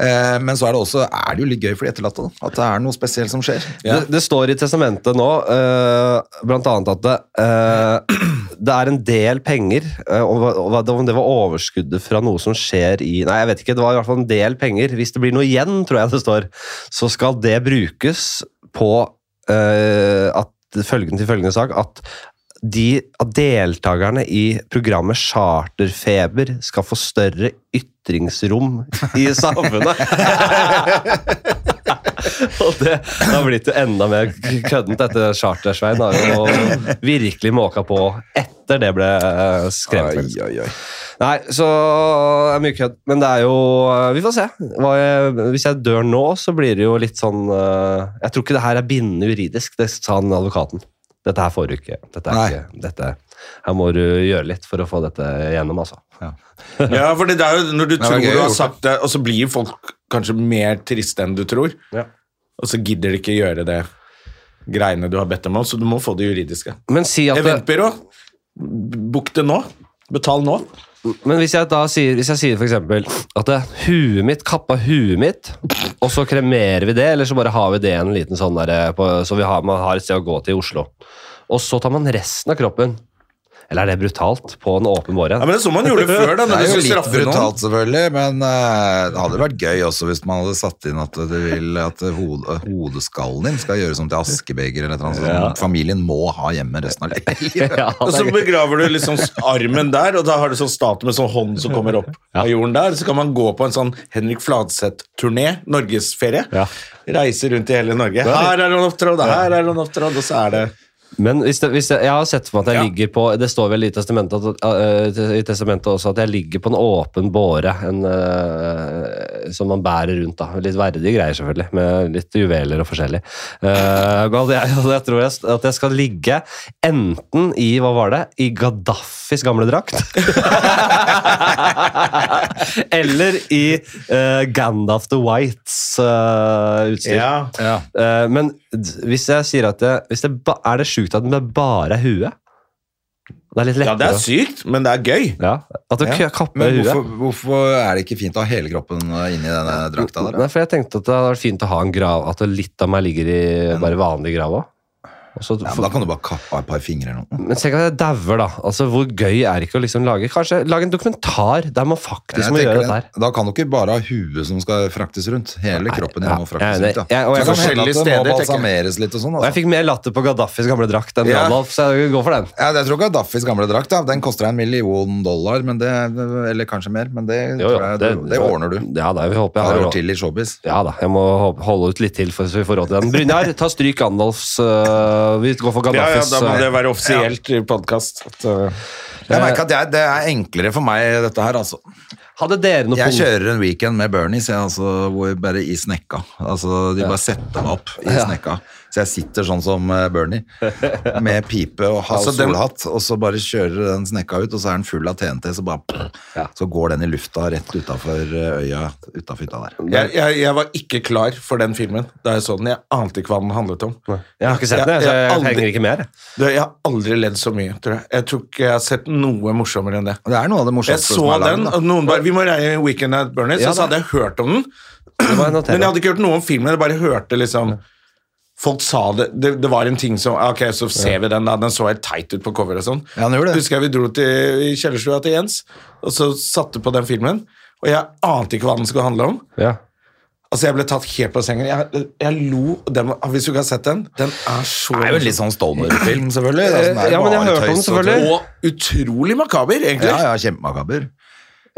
Speaker 3: Eh, men så er det også, er det jo litt gøy for de etterlatte, da, at det er noe spesielt som skjer.
Speaker 2: Det, det står i testamentet nå eh, blant annet at det, eh, det er en del penger eh, og, hva- og, hva- Om det var overskuddet fra noe som skjer i Nei, jeg vet ikke. Det var i hvert fall en del penger. Hvis det blir noe igjen, tror jeg det står, så skal det brukes på eh, at, følgen til følgende sak at de, at deltakerne i programmet Charterfeber skal få større ytringsrom i samfunnet. Og det, det har blitt jo enda mer køddent etter Charter-Svein. har jo virkelig måka på etter det ble eh, skrevet. faktisk. Nei, så det er mye kødd. Men det er jo eh, Vi får se. Hva jeg, hvis jeg dør nå, så blir det jo litt sånn eh, Jeg tror ikke det her er bindende juridisk, det sa han advokaten. Dette her får du ikke. Dette
Speaker 3: Nei.
Speaker 2: er ikke dette. Her må du gjøre litt for å få dette gjennom, altså.
Speaker 1: Ja, for det er jo når du
Speaker 3: var
Speaker 1: tror
Speaker 3: gøy å
Speaker 1: du har
Speaker 3: gjort
Speaker 1: sagt det, og så blir jo folk kanskje mer triste enn du tror.
Speaker 2: Ja.
Speaker 1: Og så gidder de ikke gjøre det greiene du har bedt dem om, så du må få det juridiske.
Speaker 2: Men si at det,
Speaker 1: Eventbyrå, bok det nå. Betal nå.
Speaker 2: Men hvis jeg da sier, hvis jeg sier for eksempel at det, huet mitt kappa huet mitt, og så kremerer vi det, eller så bare har vi det en liten sånn der, på, så vi har, man har et sted å gå til i Oslo. Og så tar man resten av kroppen. Eller er det brutalt? På en åpen båre?
Speaker 1: Ja, men det er sånn man gjorde før, da.
Speaker 3: Det
Speaker 1: Når
Speaker 3: er
Speaker 1: du
Speaker 3: jo
Speaker 1: skulle
Speaker 3: litt
Speaker 1: straffe noen.
Speaker 3: brutalt selvfølgelig, men eh, det hadde vært gøy også hvis man hadde satt inn at, du vil, at hode, hodeskallen din skal gjøres om til askebeger eller et eller annet sånt. Familien må ha hjemme resten av livet.
Speaker 2: ja,
Speaker 1: Og
Speaker 2: det
Speaker 1: så
Speaker 2: er, gøy.
Speaker 1: begraver du liksom armen der, og da har du sånn statue med sånn hånd som kommer opp av jorden der. Så kan man gå på en sånn Henrik Fladseth-turné, norgesferie.
Speaker 2: Ja.
Speaker 1: Reise rundt i hele Norge. Her er han opptrådt, og her er han opptrådt, og så er det
Speaker 2: men hvis det, hvis det, jeg har sett for meg at jeg ligger på Det står vel i testamentet, at, eh, i testamentet også at jeg ligger på en åpen båre en, eh, som man bærer rundt. da. Litt verdige greier, selvfølgelig, med litt juveler og forskjellig. Eh, men jeg, jeg tror jeg, at jeg skal ligge enten i hva var det, i Gaddafis gamle drakt Eller i eh, Gandalf the Whites eh, utstyr.
Speaker 1: Ja.
Speaker 2: Eh, men d- hvis jeg sier at det, hvis det ba, Er det sjukt at det bare er huet? Det er litt
Speaker 1: Ja, det
Speaker 2: lettere.
Speaker 1: er sykt, men det er gøy.
Speaker 2: å- ja, at du
Speaker 3: Ja,
Speaker 2: k- kapper
Speaker 3: Men
Speaker 2: huet.
Speaker 3: hvorfor, hvorfor er det ikke fint å ha hele kroppen eh, inni denne drakta der? da?
Speaker 2: Nei, for jeg tenkte at det hadde vært fint å ha en grav At litt av meg ligger i bare vanlig grav òg.
Speaker 3: Ja, men da kan du bare kappe av et par fingre eller noe.
Speaker 2: Men tenk at jeg dauer, da. Altså, Hvor gøy er det ikke å liksom lage Kanskje lage en dokumentar der man faktisk
Speaker 3: Jeg
Speaker 2: må
Speaker 3: tenker
Speaker 2: gjøre
Speaker 3: det.
Speaker 2: dette her.
Speaker 3: Da kan du ikke bare ha huet som skal fraktes rundt. Hele kroppen din
Speaker 2: ja,
Speaker 3: må
Speaker 2: jeg
Speaker 3: fraktes
Speaker 2: er enig.
Speaker 3: rundt. Da.
Speaker 2: Jeg- og jeg
Speaker 3: Så det kan hende at
Speaker 2: kan
Speaker 1: forskjellige
Speaker 3: det må
Speaker 1: steder, tenker jeg.
Speaker 3: balsameres litt og sånn.
Speaker 2: Og jeg
Speaker 3: Altså.
Speaker 2: fikk mer latter på Gaddafis gamle drakt enn
Speaker 1: Ja.
Speaker 2: Gandalf, så jeg går for den.
Speaker 3: Ja, jeg tror Gaddafis gamle drakt da. Den koster deg en million dollar, men det, eller kanskje mer, men det,
Speaker 2: Jo, jo,
Speaker 3: tror jeg, det, det ordner du.
Speaker 2: Ja, da, vi håper
Speaker 3: Jeg
Speaker 2: jeg
Speaker 3: har
Speaker 2: har
Speaker 3: år
Speaker 2: råd.
Speaker 3: til i showbiz.
Speaker 2: Ja da, jeg må ho- holde ut litt til for, så vi får råd til den. Brynjar, ta stryk Gandalfs øh, Vi går for
Speaker 1: Ja, eh, ja,
Speaker 2: Gandalfs
Speaker 1: Da må
Speaker 2: øh,
Speaker 1: det være offisielt i eh, podkast.
Speaker 3: Jeg merker at jeg, det er enklere for meg, dette her, altså.
Speaker 2: Hadde dere noe
Speaker 3: Jeg
Speaker 2: punkt?
Speaker 3: kjører en weekend med Bernies, jeg, altså, hvor bare i snekka. Altså, de bare setter meg opp i snekka. Så jeg sitter sånn som eh, Bernie, med pipe og ha
Speaker 1: Altså, den-
Speaker 3: solhatt, og så bare kjører den snekka ut, og så er den full av TNT, så bare Så går den i lufta rett utafor eh, øya, utafor hytta der.
Speaker 1: Jeg, jeg, jeg var ikke klar for den filmen da jeg så den. sånn, Jeg ante ikke hva den handlet om.
Speaker 2: Jeg har ikke sett den, jeg, så
Speaker 1: Jeg- jeg
Speaker 2: jeg
Speaker 1: aldri-
Speaker 2: trenger ikke mer. jeg.
Speaker 1: Du, jeg har aldri ledd så mye, tror jeg. Jeg tror ikke jeg har sett noe morsommere enn det.
Speaker 3: Og Det er noe av det
Speaker 1: Jeg
Speaker 3: morsomste
Speaker 1: så
Speaker 3: som er
Speaker 1: den,
Speaker 3: laget.
Speaker 1: og noen bare Vi må reie Weekend at Bernies,
Speaker 2: Ja,
Speaker 1: og så
Speaker 2: da.
Speaker 1: hadde jeg hørt om den.
Speaker 2: Det må jeg
Speaker 1: Men jeg
Speaker 2: notere.
Speaker 1: hadde ikke hørt noe om filmen, jeg bare hørte liksom Folk sa det, det Det var en ting som Ok, så ser vi den, da. Den så helt teit ut på coveret og sånn.
Speaker 3: Ja, den gjorde det.
Speaker 1: Husker jeg vi dro til i kjellerstua til Jens, og så satte på den filmen. Og jeg ante ikke hva den skulle handle om.
Speaker 2: Ja.
Speaker 1: Altså, Jeg ble tatt helt på sengen. Jeg, jeg lo. Den, var- hvis du ikke har sett den, den er så
Speaker 3: Det er jo litt sånn stoner-film, selvfølgelig. Det er sånn der
Speaker 2: Ja, men jeg
Speaker 3: bare
Speaker 2: har hørt om den,
Speaker 3: tøys og
Speaker 2: selvfølgelig.
Speaker 3: tull.
Speaker 1: Og utrolig makaber, egentlig.
Speaker 3: Ja, ja, kjempemakaber.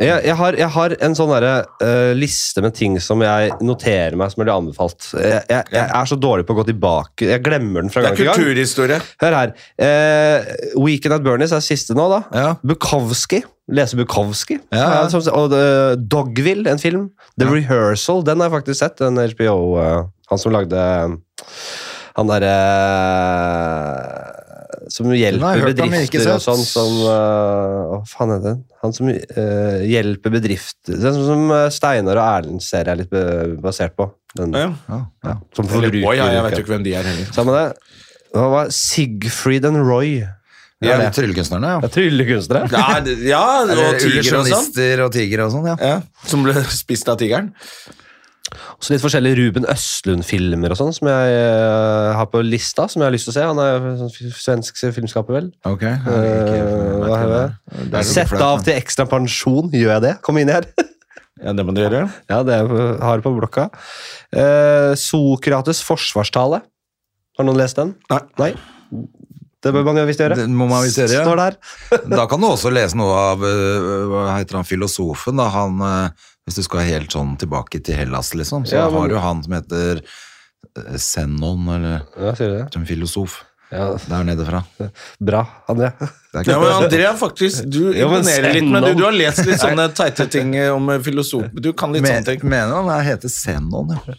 Speaker 2: Jeg, jeg, har, jeg har en sånn derre, eh, liste med ting som jeg noterer meg som blir anbefalt. Jeg, jeg, jeg er så dårlig på å gå tilbake. Jeg glemmer den fra
Speaker 1: Det
Speaker 2: gang
Speaker 1: er
Speaker 2: til gang.
Speaker 1: kulturhistorie.
Speaker 2: Hør her. Eh, Weekend at Bernies er siste nå, da.
Speaker 3: Ja.
Speaker 2: Bukowski. Lese Bukowski.
Speaker 3: Ja, ja.
Speaker 2: som- og eh, Dogville, en film. The Rehearsal, den har jeg faktisk sett. Den HBO eh, Han som lagde eh, Han derre eh, Som
Speaker 3: Den har
Speaker 2: hjelper
Speaker 3: jeg hørt om, men ikke
Speaker 2: bedrifter og
Speaker 3: sett.
Speaker 2: sånn som eh, Hva faen er det? Han som eh, hjelper bedrifter Den som, som eh, Steinar og Erlend ser jeg er litt eh, basert på. Den,
Speaker 1: Ja.
Speaker 3: Ja, ja.
Speaker 2: Som
Speaker 1: Eller,
Speaker 2: forbruker.
Speaker 1: oi, ja, jeg vet jo ikke hvem de er heller.
Speaker 2: Sammen med det. Hva var Sigfried and Roy?
Speaker 3: Ja, det er Tryllekunstnerne,
Speaker 2: Det
Speaker 3: ja.
Speaker 2: er Tryllekunstnere.
Speaker 1: Ja, det- ja og tiger og sånn.
Speaker 3: Illusjonister og tiger og sånn, ja.
Speaker 1: Ja, som ble spist av tigeren.
Speaker 2: Også litt forskjellige Ruben Østlund-filmer og sånn som jeg eh, har på lista, som jeg har lyst til å se. Han er jo sånn f- svensk filmskaper, vel.
Speaker 3: Ok. jeg
Speaker 2: Eh,
Speaker 3: vet ikke, jeg vet
Speaker 2: hva
Speaker 3: ikke
Speaker 2: er
Speaker 3: hvem det
Speaker 2: det?
Speaker 3: er. Det er jo
Speaker 2: Sett
Speaker 3: flaut,
Speaker 2: av
Speaker 3: men-
Speaker 2: til ekstra pensjon, gjør jeg det? Kom inn her.
Speaker 1: Ja, det må du gjøre.
Speaker 2: ja, det er- har jeg på blokka. Eh, Sokrates' forsvarstale. Har noen lest den?
Speaker 1: Nei.
Speaker 2: Det bør man jo visst gjøre.
Speaker 3: Det må man visst gjøre, ja.
Speaker 2: Står der.
Speaker 3: Da kan du også lese noe av øh, hva heter han, filosofen. Da. Han, øh, hvis du skal helt sånn tilbake til Hellas, liksom, så
Speaker 2: Ja, men-
Speaker 3: har du han som heter øh, Zenon, eller
Speaker 2: Ja, sier du det?
Speaker 3: som filosof,
Speaker 2: Ja,
Speaker 3: der nede fra.
Speaker 2: bra, André.
Speaker 3: Det er
Speaker 1: Ja, men
Speaker 3: ikke-
Speaker 1: Andrea, faktisk, du
Speaker 2: Jo, men
Speaker 1: imponerer litt, men du,
Speaker 2: Zenon.
Speaker 1: du har lest litt sånne teite ting eh, om eh, filosof... Du kan litt sånne
Speaker 3: Men-
Speaker 1: ting.
Speaker 3: Mener han han heter Zenon? ja.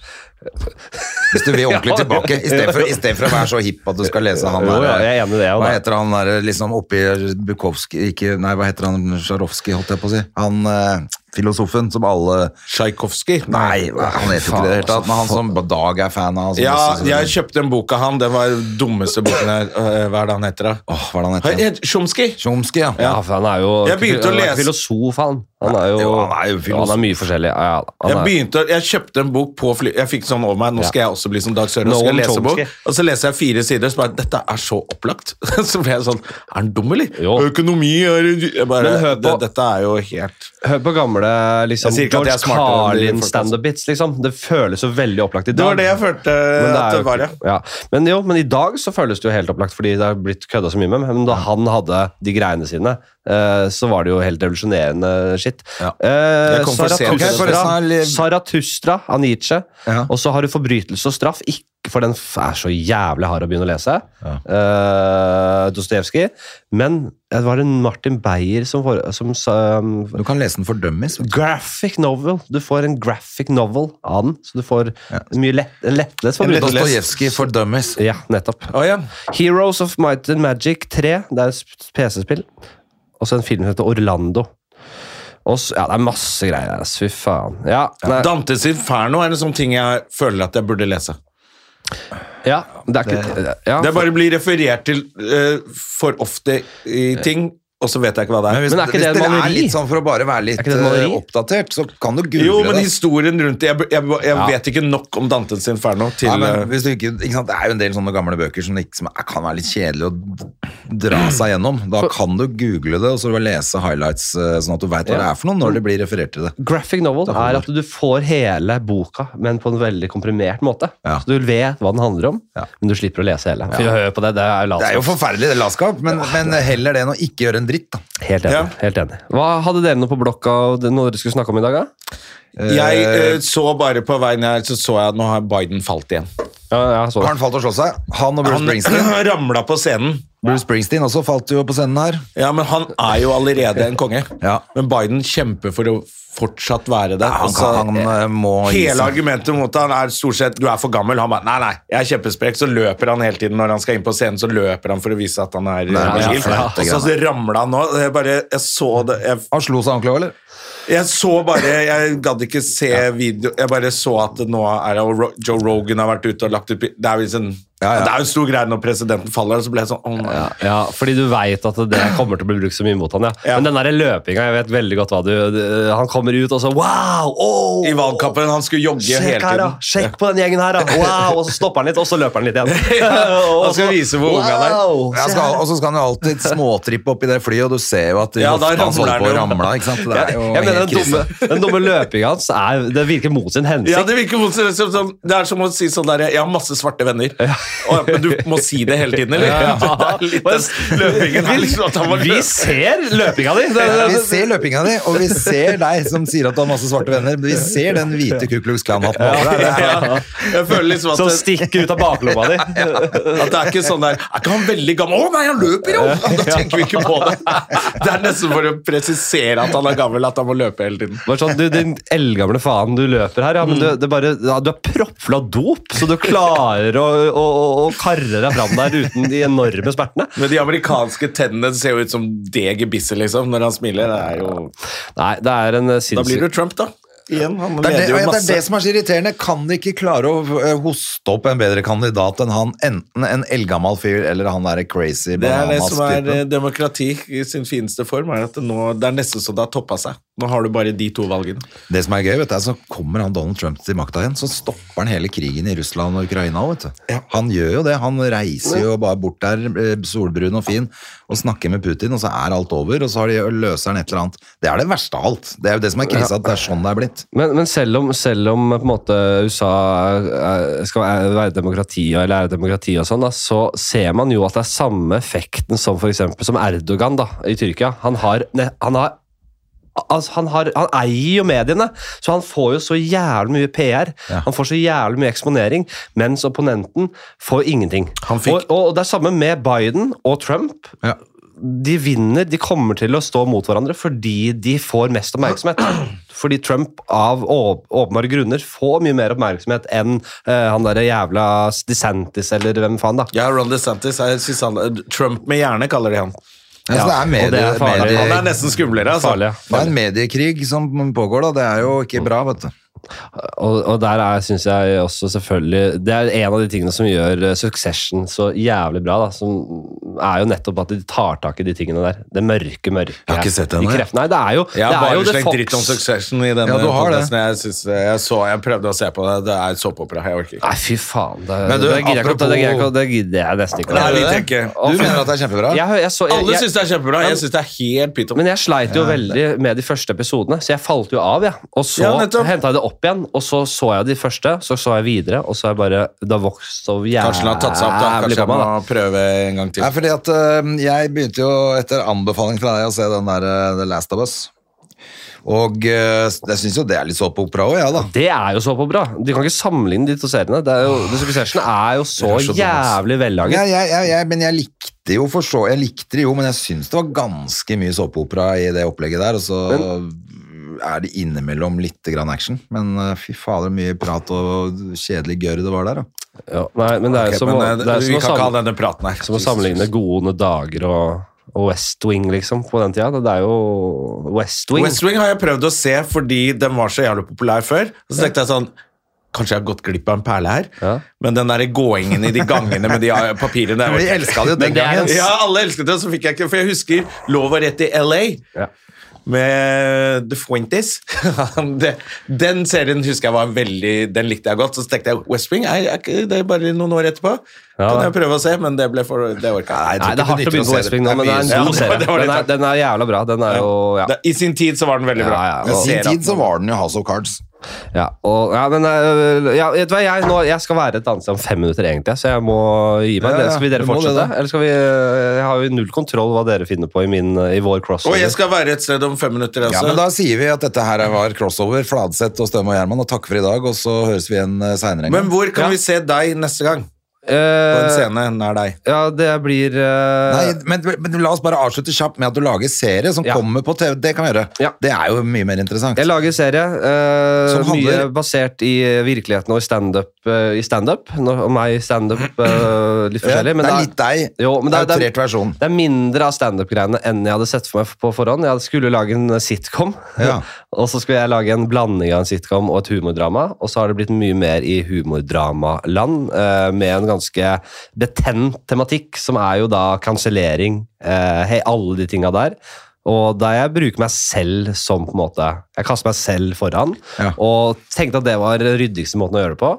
Speaker 3: Hvis du vil ordentlig tilbake, i stedet for, i stedet for å være så hipp at du skal lese han
Speaker 2: Jo,
Speaker 3: der
Speaker 2: ja, jeg er enig i det, ja,
Speaker 3: Hva
Speaker 2: da.
Speaker 3: heter han der liksom oppi Bukowski ikke, Nei, hva heter han Sjarovskij, holdt jeg på å si? Han eh, filosofen som alle
Speaker 1: Tsjajkovskij?
Speaker 3: Nei, han heter ikke det i det hele tatt, men han som Dag er fan av.
Speaker 1: Ja, jeg kjøpte en bok av han. Den var den dummeste boken her. eh, Hva er det han heter, da?
Speaker 3: Åh, hva er det han heter?
Speaker 1: Het- Chomsky.
Speaker 3: Chomsky, ja.
Speaker 2: Ja, for han er jo
Speaker 1: Jeg begynte å
Speaker 2: han er ikke
Speaker 1: lese-
Speaker 2: filosof, han. Han er jo,
Speaker 3: Jo, han er jo filosof.
Speaker 2: Han er mye forskjellig. Ja, ja, han
Speaker 1: Jeg,
Speaker 2: er-
Speaker 1: begynte, å- jeg kjøpte en bok på fly... Jeg fikk sånn over meg, nå skal jeg også bli som Dag Sørås.
Speaker 2: Noam
Speaker 1: skal jeg lese bok.
Speaker 2: Chomsky.
Speaker 1: Og så leser jeg fire sider, så bare Dette er så opplagt. Så ble jeg sånn Er han dum, eller?
Speaker 2: Jo.
Speaker 1: Økonomi er jeg bare,
Speaker 2: Men hør
Speaker 1: det,
Speaker 2: på-
Speaker 1: Dette er jo helt
Speaker 2: Hør på gamle liksom,
Speaker 1: Jeg sier ikke at jeg
Speaker 2: George
Speaker 1: er smartere enn de folka. altså.
Speaker 2: Carlin-standup-bits. Liksom. Det føles så veldig opplagt i dag.
Speaker 1: Det var det jeg følte
Speaker 2: Men det er
Speaker 1: at
Speaker 2: jo
Speaker 1: det var, ja.
Speaker 2: ikke- ja. Men jo, men i dag så føles det jo helt opplagt, fordi det har blitt kødda så mye med. Men da han hadde de greiene sine, eh, så var det jo helt revolusjonerende skitt.
Speaker 3: Ja.
Speaker 2: Eh,
Speaker 1: Jeg kom for sent.
Speaker 3: Ok, forresten
Speaker 2: Zarathustra,
Speaker 3: er litt-
Speaker 2: Zarathustra av Nietzsche.
Speaker 3: Ja.
Speaker 2: Og så har du forbrytelse og straff, ikke for den f- er så jævlig hard å begynne å lese.
Speaker 3: Ja.
Speaker 2: Eh, Dostojevskij. Men eh, var det Martin Beyer som, for, som sa um,
Speaker 3: Du kan lese den for dummies.
Speaker 2: Graphic novel. Du får en graphic novel av den, så du får mye lett, en lettlest. for
Speaker 1: En
Speaker 2: brukeren.
Speaker 3: Dostojevskij for dummies.
Speaker 2: Ja, nettopp.
Speaker 1: Å, ja.
Speaker 2: Heroes of Might and Magic 3. Det er et sp- PC-spill. Og så en film som heter Orlando. Og så, ja, det er masse greier. ass. Fy faen. Ja, nei,
Speaker 1: Dantes Inferno er en sånn ting jeg føler at jeg burde lese.
Speaker 2: ja, det er ikke ja,
Speaker 1: Det bare blir referert til eh, for ofte i ting, og så vet jeg ikke hva det er.
Speaker 3: hvis,
Speaker 2: Men er ikke
Speaker 3: hvis
Speaker 2: det et
Speaker 3: dere er
Speaker 2: maleri?
Speaker 3: litt sånn for å bare være litt
Speaker 2: ikke det et
Speaker 3: eh,
Speaker 2: maleri?
Speaker 3: oppdatert, så kan du google
Speaker 1: Jo, men
Speaker 3: det.
Speaker 1: historien rundt det Jeg, jeg, jeg vet ikke nok om Dantes Inferno til
Speaker 3: Ja, men
Speaker 1: eh,
Speaker 3: hvis du ikke, ikke sant? Det er jo en del sånne gamle bøker som liksom, er- kan være litt kjedelig å dra seg gjennom. Da kan du google det og så bare lese highlights, eh, sånn at du veit hva det er for noe når det blir referert til det.
Speaker 2: Graphic novel er at du får hele boka, men på en veldig komprimert måte.
Speaker 3: Ja.
Speaker 2: Så du vet hva den handler om,
Speaker 3: Ja.
Speaker 2: men du slipper å lese hele. For å høre på det, det er jo
Speaker 3: Det er jo
Speaker 2: latskap.
Speaker 3: forferdelig det latskap, men, men heller det enn å ikke gjøre en dritt. da.
Speaker 2: Helt enig.
Speaker 1: Ja.
Speaker 2: helt enig. Hva Hadde dere noe på blokka og det- noe dere skulle snakke om i dag? da?
Speaker 1: Jeg eh, så bare på veien her, så så jeg at nå har Biden falt igjen.
Speaker 2: Ja, ja, så.
Speaker 3: Har han falt og slått seg? Han og Bruce
Speaker 1: Han
Speaker 3: Springsteen.
Speaker 1: ramla på scenen.
Speaker 3: Bruce Springsteen også falt jo på scenen her.
Speaker 1: Ja, men han er jo allerede en konge.
Speaker 3: Ja.
Speaker 1: Men Biden kjemper for å fortsatt være det.
Speaker 3: Han,
Speaker 1: Altså,
Speaker 3: kan, han eh, må gi
Speaker 1: Hele
Speaker 3: seg.
Speaker 1: argumentet mot han er stort sett du er for gammel. Han bare nei, nei, jeg er kjempesprekk. Så løper han hele tiden når han skal inn på scenen, så løper han for å vise at han er
Speaker 3: Nei,
Speaker 1: eh,
Speaker 3: ja,
Speaker 1: vild.
Speaker 3: ja.
Speaker 1: Og så, så ramla han nå. og Jeg bare, jeg så det jeg,
Speaker 3: Han slo seg ordentlig òg, eller?
Speaker 1: jeg så bare Jeg gadd ikke se video Jeg bare så at det nå er det- og Ro- Joe Rogan har vært ute og lagt ut bi- Det er jo en,
Speaker 3: Ja, ja.
Speaker 1: Det er jo en stor greie når presidenten faller, og så ble jeg sånn oh,
Speaker 2: Ja, ja, fordi du veit at det kommer til å bli brukt så mye mot han, ja.
Speaker 1: Ja.
Speaker 2: Men den der løpinga, jeg vet veldig godt hva du det- Han kom kommer ut og så Wow! Oh,
Speaker 1: I valgkampen han skulle jogge hele
Speaker 2: Sjekk her, da!
Speaker 1: tiden.
Speaker 2: Sjekk på den gjengen her, da! Wow! Og så stopper han litt, og så løper han litt igjen.
Speaker 1: Han skal vise hvor ung han er.
Speaker 2: Wow!
Speaker 3: Ja,
Speaker 2: Se
Speaker 3: skal,
Speaker 2: her.
Speaker 3: og så skal han jo alltid småtrippe oppi det flyet, og du ser jo at
Speaker 1: Ja, da
Speaker 3: hofta hans
Speaker 1: ramler
Speaker 3: holder på å
Speaker 1: han jo.
Speaker 3: ramle. Ikke sant? Det
Speaker 2: Jeg,
Speaker 3: er jo
Speaker 2: jeg mener
Speaker 3: helt
Speaker 2: Den dumme,
Speaker 3: krise.
Speaker 2: den dumme løpinga hans er, det virker mot sin hensikt.
Speaker 1: Ja, det virker motsatt. Som, sånn, det er som å si sånn der Jeg har masse svarte venner. Og, men du må si det hele tiden, eller? Det er litt den løpingen her, liksom. At han var
Speaker 2: Vi
Speaker 1: løp.
Speaker 2: ser løpinga di! Det,
Speaker 3: Ja,
Speaker 2: det,
Speaker 3: Vi ser løpinga di, og vi ser deg som sier at du har masse svarte venner. Vi ser den hvite Ku Klux Klan-hatten over deg. Det er-
Speaker 1: Ja. Jeg føler liksom
Speaker 2: som
Speaker 1: at,
Speaker 2: stikker ut av baklomma di.
Speaker 1: at det er ikke sånn der Er ikke han veldig gammel? Å nei, han løper jo! Da tenker vi ikke på det. Det er nesten for å presisere at han er gammel, at han må løpe hele tiden.
Speaker 2: Bare sånn, du, Din eldgamle faen, du løper her, ja, men du,
Speaker 1: Mm.
Speaker 2: det er bare, ja, du er proppfull av dop, så du klarer å, å, å, å karre deg fram der uten de enorme smertene.
Speaker 1: Men de amerikanske tennene ser jo ut som det gebisset, liksom, når han smiler. Det er jo
Speaker 2: Nei, det er
Speaker 1: Da
Speaker 2: en eh,
Speaker 1: blir
Speaker 2: sinnssyk
Speaker 1: det Trump, da. Igjen. Han
Speaker 3: Det er det,
Speaker 1: leder jo
Speaker 3: det er
Speaker 1: masse.
Speaker 3: det som er så irriterende. Kan de ikke klare å eh, hoste opp en bedre kandidat enn han? Enten en eldgammel fyr eller han derre crazy
Speaker 1: Det er det som er eh,
Speaker 3: bananastypen.
Speaker 1: demokrati i sin fineste form. er at det nå, Det er nesten så det har toppa seg. Nå har du bare de to valgene.
Speaker 3: Det som er gøy, vet du, er så kommer han Donald Trump til makta igjen, så stopper han hele krigen i Russland og Ukraina. Vet du. Han gjør jo det. Han reiser jo bare bort der, eh, solbrun og fin, og snakker med Putin, og så er alt over, og så har de, løser han et eller annet. Det er det verste av alt. Det er jo det som er krisa, at det er sånn det er blitt.
Speaker 2: Men, men selv om, selv om på en måte USA er, er- skal være- være demokrati, eller er demokrati og sånn, da, så ser man jo at det er samme effekten som for eksempel som Erdogan da, i Tyrkia. Han har, ne, han har Altså, han, har, han eier jo mediene, så han får jo så jævlig mye PR. Han får så jævlig mye eksponering, mens opponenten får ingenting.
Speaker 1: Han fikk-
Speaker 2: og, og, og det er samme med Biden og Trump.
Speaker 3: Ja.
Speaker 2: De vinner, de kommer til å stå mot hverandre fordi de får mest oppmerksomhet. Fordi Trump av å- åpenbare grunner får mye mer oppmerksomhet enn eh, han der jævla DeSantis eller hvem faen, da.
Speaker 1: Ja, Ron DeSantis jeg synes han, eh, Trump med hjerne, kaller de han.
Speaker 3: Ja, så det er
Speaker 2: og det
Speaker 3: medie,
Speaker 2: er farlig.
Speaker 3: medie,
Speaker 1: Han er nesten skumlere. Altså.
Speaker 2: Farlig, ja.
Speaker 3: det er en mediekrig som pågår, da. Det er jo ikke bra, vet du.
Speaker 2: Og, og der er, synes jeg også selvfølgelig Det er en av de tingene som gjør eh, Succession så jævlig bra. Da, som er jo nettopp at de tar tak i de tingene der. Det mørke, mørke.
Speaker 3: Jeg har ikke sett den,
Speaker 2: i
Speaker 3: jeg.
Speaker 2: kreften. Nei, det er jo
Speaker 1: Jeg
Speaker 2: det
Speaker 1: har
Speaker 2: er
Speaker 1: bare
Speaker 2: jo det
Speaker 1: slengt
Speaker 2: Fox-
Speaker 1: dritt om Succession i denne
Speaker 3: Ja, du har det.
Speaker 1: podcasten. Jeg, synes, eh, jeg, så, jeg prøvde å se på det. Det er såpeopera. Jeg orker ikke.
Speaker 2: Nei, fy faen. Det,
Speaker 3: Men du,
Speaker 2: det gidder jeg ikke å- det gidder jeg ikke å-
Speaker 3: apropos-
Speaker 2: det gidder jeg nesten ikke. å-
Speaker 1: Nei, vi
Speaker 3: Er det det?
Speaker 1: tenker-
Speaker 3: Du mener at det er kjempebra?
Speaker 2: Jeg, jeg så, jeg,
Speaker 1: Alle
Speaker 2: jeg,
Speaker 1: syns det er kjempebra. Jeg syns det er helt pyton.
Speaker 2: men jeg sleit jo veldig med de første episodene, så jeg falt jo av. Ja. Og så
Speaker 1: Ja,
Speaker 2: hentet
Speaker 1: nettopp.
Speaker 2: henta jeg det opp igjen, og så så jeg de første, så så jeg videre, og så har jeg bare Det har vokst så jævlig
Speaker 1: Kanskje han har tatt seg
Speaker 3: Ah,
Speaker 1: opp, da. Kanskje
Speaker 2: på
Speaker 1: jeg
Speaker 2: meg, da.
Speaker 1: må prøve en gang
Speaker 3: Nei,
Speaker 1: til.
Speaker 3: fordi at øhm, jeg begynte jo etter anbefaling fra deg å se den der øh, The Last of Us. Og øh, jeg syns jo det er litt såpeopera òg, jeg, ja, da.
Speaker 2: Det er jo så på bra. Du kan ikke sammenligne de to seriene. Det er jo, The Succession er jo så,
Speaker 3: Det er så dumt, ass.
Speaker 2: jævlig vellaget.
Speaker 3: Jeg, jeg, jeg, jeg, men jeg likte jo for så Jeg likte det jo, men jeg syns det var ganske mye såpeopera i det opplegget der. Og så er det innimellom litt grann action. Men øh, fy fader, mye prat og kjedelig gørr det var der, da.
Speaker 2: Ja, nei, men det er
Speaker 1: Ok,
Speaker 2: jo som,
Speaker 1: men,
Speaker 2: å-
Speaker 1: eh,
Speaker 2: det er
Speaker 1: vi kan
Speaker 2: som, å,
Speaker 1: ikke ha
Speaker 2: sammen,
Speaker 1: denne praten her.
Speaker 2: som å sammenligne Gode dager og, og West Wing, liksom, på den tida. Det- Det er jo West Wing.
Speaker 1: West Wing har jeg prøvd å se fordi den var så jævlig populær før. Og så tenkte jeg sånn Kanskje jeg har gått glipp av en perle her,
Speaker 2: Ja.
Speaker 1: men den der gåingen i de gangene med de eh, papirene
Speaker 3: Vi elska det jo den
Speaker 2: det er en
Speaker 3: gangen.
Speaker 1: Ja, alle elsket det, så fikk jeg ikke For jeg husker Lov og rett i LA
Speaker 2: Ja.
Speaker 1: med The Fuentes. Det- den serien husker jeg var veldig Den likte jeg godt. Så tenkte jeg West Wing er, er ikke det er bare noen år etterpå.
Speaker 2: Ja.
Speaker 1: Kan jeg prøve å se, men det ble for Det orka jeg
Speaker 2: Nei, det er hardt å begynne på West Wing nå, men det er
Speaker 1: Ja, det
Speaker 2: en god
Speaker 1: var-
Speaker 2: serie.
Speaker 1: det var litt
Speaker 2: Den er,
Speaker 1: hardt.
Speaker 2: den er jævla bra. Den er jo ja.
Speaker 1: Det- I sin tid så var den veldig bra.
Speaker 2: Ja, ja,
Speaker 3: I
Speaker 1: Jeg ser
Speaker 3: sin
Speaker 1: at-
Speaker 3: tid så var den jo House of Cards.
Speaker 2: Ja, og, ja, men øh, ja, vet du hva, jeg, nå, jeg skal være et annet sted om fem minutter, egentlig, så jeg må gi meg.
Speaker 3: Ja, ja,
Speaker 2: skal vi
Speaker 3: du
Speaker 2: dere
Speaker 3: må det,
Speaker 2: fortsette?
Speaker 3: da.
Speaker 2: Eller skal vi øh, Jeg har jo null kontroll hva dere finner på i, min, øh, i vår
Speaker 1: Og
Speaker 2: crossover.
Speaker 1: jeg skal være et sted om fem minutter.
Speaker 3: Ja,
Speaker 1: Altså.
Speaker 3: men Da sier vi at dette her var crossover, Fladseth og Støme og Gjerman. Og takk for i dag, og så høres vi igjen eh, seinere. en gang.
Speaker 1: Men hvor kan vi se deg neste gang? På en
Speaker 2: Eh,
Speaker 1: scene nær deg.
Speaker 2: Ja, det blir eh,
Speaker 3: Nei, men, men la oss bare avslutte kjapt med at du lager serie som
Speaker 2: Ja.
Speaker 3: kommer på TV. Det kan vi gjøre.
Speaker 2: Ja.
Speaker 3: Det er jo mye mer interessant.
Speaker 2: Jeg lager serie. eh,
Speaker 3: Som handler-
Speaker 2: mye basert i eh, virkeligheten og i standup. Uh, stand og meg i standup. Uh, litt
Speaker 3: Ja,
Speaker 2: forskjellig. Men
Speaker 3: det er litt deg.
Speaker 2: Jo, men det er-
Speaker 3: Outrert
Speaker 1: Mm.
Speaker 3: versjon.
Speaker 2: Det er mindre av standup-greiene enn jeg hadde sett for meg på forhånd. Jeg skulle lage en sitcom,
Speaker 3: Ja.
Speaker 2: og så skulle jeg lage en blanding av en sitcom og et humordrama. Og så har det blitt mye mer i humordramaland, eh, med en ganske betent tematikk, som er jo da kansellering, eh, hei, alle de tinga der. Og der jeg bruker meg selv som på en måte Jeg kaster meg selv foran.
Speaker 3: Ja.
Speaker 2: Og tenkte at det var den ryddigste måten å gjøre det på.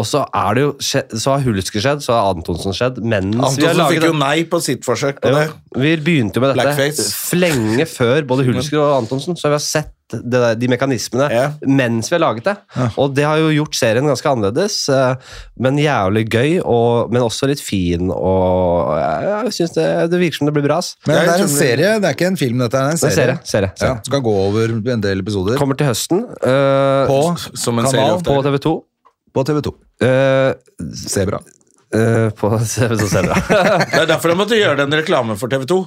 Speaker 2: Og så, er det jo, skje- så har Hulsker skjedd, så har Antonsen skjedd. Mens vi har
Speaker 1: Antonsen
Speaker 2: laget
Speaker 1: fikk jo
Speaker 2: den-
Speaker 1: nei på sitt forsøk på
Speaker 2: jo,
Speaker 1: det.
Speaker 2: vi begynte jo med dette
Speaker 1: Blackface.
Speaker 2: lenge før både Hulsker og Antonsen, så vi har sett det der, de mekanismene
Speaker 1: Ja.
Speaker 2: mens vi har laget det. Og det har jo gjort serien ganske annerledes, eh, men jævlig gøy, og, men også litt fin. Og eh, jeg, jeg synes det, det virker som det blir bra. ass.
Speaker 3: Men
Speaker 1: Jeg
Speaker 3: det er en
Speaker 1: tror-
Speaker 3: serie, det er ikke en film, dette er en serie.
Speaker 2: Det er serie, serie,
Speaker 3: Ja,
Speaker 2: serie.
Speaker 3: du skal gå over en del episoder
Speaker 2: Kommer til høsten eh,
Speaker 3: på,
Speaker 1: Som en
Speaker 3: Kanal
Speaker 1: serie ofte
Speaker 2: på
Speaker 1: er.
Speaker 2: TV 2.
Speaker 3: på TV 2. Se bra.
Speaker 2: eh, på TV 2 ser dere.
Speaker 1: Det er derfor de måtte gjøre den reklamen for TV 2.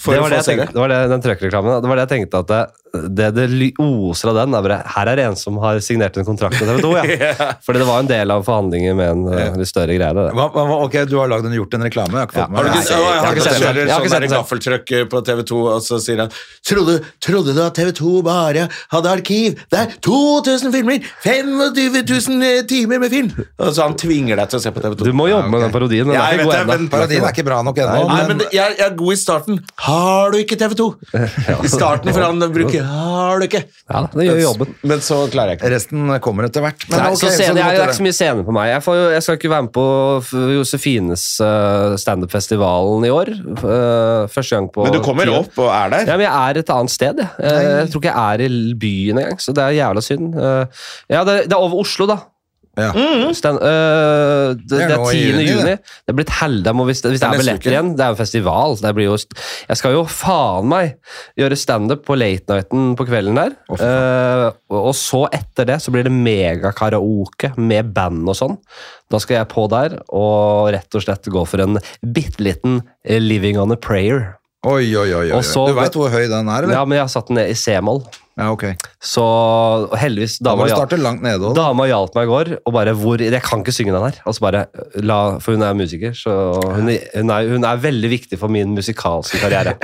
Speaker 1: For
Speaker 2: det
Speaker 1: å
Speaker 2: var
Speaker 1: få
Speaker 2: det,
Speaker 1: seere.
Speaker 2: jeg tenkte, det var det den trøkkreklamen. Det var det jeg tenkte at det, det, det ly- oser av den, er bare Her er det en som har signert en kontrakt med TV 2, ja. Fordi det var en del av forhandlingen med en eh, litt større greie. det der.
Speaker 3: Hva, hva, ok, du har lagd en, gjort en reklame. Jeg har ikke fått
Speaker 1: Har
Speaker 3: med
Speaker 1: du
Speaker 3: meg
Speaker 1: ikke,
Speaker 3: det.
Speaker 1: jeg,
Speaker 2: har ikke sett den. Jeg har
Speaker 1: sånn
Speaker 2: ikke sett
Speaker 1: der
Speaker 2: den.
Speaker 1: gaffeltrøkk på TV 2, og så sier han trodde, trodde du at TV 2 bare hadde arkiv? Det er 2000 filmer! 25 000 timer med film! Og så han tvinger deg til å se på TV 2.
Speaker 2: Du må jobbe med
Speaker 3: ok.
Speaker 2: den parodien. Den
Speaker 1: Jeg
Speaker 2: er
Speaker 1: vet
Speaker 2: ikke
Speaker 1: det,
Speaker 2: god
Speaker 1: men-
Speaker 2: ennå.
Speaker 3: Parodien er ikke bra nok ennå.
Speaker 1: Nei, men det- jeg, jeg er god i starten. Har du ikke TV 2? I starten for han bruker Har du ikke?
Speaker 2: Ja, det gjør jobben.
Speaker 1: Men så klarer jeg ikke.
Speaker 3: Resten kommer etter hvert. Men
Speaker 2: Nei,
Speaker 3: ok,
Speaker 2: så
Speaker 3: så
Speaker 2: scenen,
Speaker 3: du
Speaker 2: jeg,
Speaker 3: måtte
Speaker 2: det er
Speaker 3: det.
Speaker 2: ikke så mye scener på meg. Jeg, får, jo- jeg skal ikke være med på f- Josefines uh, standup-festivalen i år. Eh, første gang på
Speaker 1: Men du kommer
Speaker 2: ti år.
Speaker 1: opp og er der.
Speaker 2: Ja, men jeg er et annet sted, jeg. Eh, Jeg tror ikke jeg er i l- byen engang, så det er jævla synd. Eh, Ja, det, det er over Oslo, da.
Speaker 3: Ja.
Speaker 2: Stand, øh, det, det
Speaker 3: er
Speaker 2: er,
Speaker 3: nå i
Speaker 2: 10.
Speaker 3: juni,
Speaker 2: juni.
Speaker 3: det.
Speaker 2: Det blir et helvete må- hvis, det- hvis det
Speaker 1: Det er
Speaker 2: er
Speaker 1: neste uke.
Speaker 2: billetter igjen. Det er jo en festival. Det blir jo, st- jeg skal jo faen meg gjøre standup på late nighten på kvelden der. Eh, og og så etter det så blir det megakaraoke med band og sånn. Da skal jeg på der og rett og slett gå for en bitte liten eh, Living on a Prayer.
Speaker 3: Oi, oi, oi. oi.
Speaker 2: Og så-
Speaker 3: du veit hvor høy den er, eller?
Speaker 2: Ja, men jeg har satt den ned i C-moll.
Speaker 3: Ja, ok.
Speaker 2: Så og heldigvis
Speaker 3: Da
Speaker 2: dama,
Speaker 3: må du
Speaker 2: hjalp-
Speaker 3: starte langt nede. også.
Speaker 2: dama hjalp meg i går og bare hvor, Jeg kan ikke synge den her. Altså bare, la, for hun er musiker, så hun, hun, er, hun er veldig viktig for min musikalske karriere.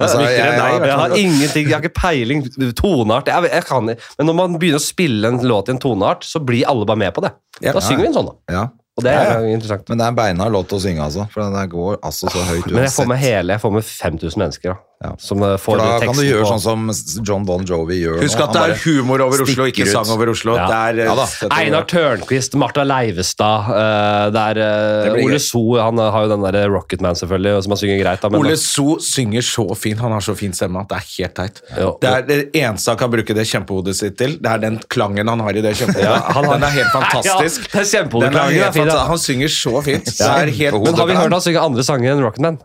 Speaker 3: Altså, jeg, jeg,
Speaker 2: Jeg
Speaker 3: jeg,
Speaker 2: har ingenting, jeg har ikke peiling. Toneart jeg, jeg kan, ikke. Men når man begynner å spille en låt i en toneart, så blir alle bare med på det. Da synger vi en sånn, da.
Speaker 3: ja.
Speaker 2: Og det er interessant.
Speaker 3: Men det er en beinhard låt å synge, altså. For den der går altså så høyt
Speaker 2: Men jeg får med hele, jeg får med 5000 mennesker. da
Speaker 3: Ja.
Speaker 2: Som eh, får
Speaker 3: For da
Speaker 2: teksten
Speaker 3: kan du gjøre
Speaker 2: på-
Speaker 3: sånn som John Bon Jovi gjør
Speaker 1: Husk
Speaker 3: nå.
Speaker 1: at det
Speaker 3: Han
Speaker 1: er humor over Oslo, ikke
Speaker 3: stikker ut.
Speaker 1: sang over Oslo.
Speaker 2: Ja.
Speaker 1: Det er, eh,
Speaker 3: Ja da.
Speaker 2: Einar Tørnquist, Martha Leivestad eh, Det er eh,
Speaker 3: Det blir
Speaker 2: Ole
Speaker 3: gøy.
Speaker 2: So, han eh, har jo den der Rocketman, selvfølgelig, som han synger greit. Da, men
Speaker 1: Ole So synger så fin. Han har så fin stemme at det er helt teit.
Speaker 2: Ja.
Speaker 1: Det er det eneste han kan bruke det kjempehodet sitt til. Det er den klangen han har i det kjempehodet.
Speaker 2: Ja, han har-
Speaker 1: Den er helt fantastisk.
Speaker 2: Ja, det er
Speaker 1: Den er
Speaker 2: kjempehodet klangen,
Speaker 1: helt
Speaker 2: det er fint,
Speaker 1: fanta-
Speaker 2: ja.
Speaker 1: Han synger så fint. Det er helt,
Speaker 2: men har vi hørt han synge andre sanger enn Rocketman?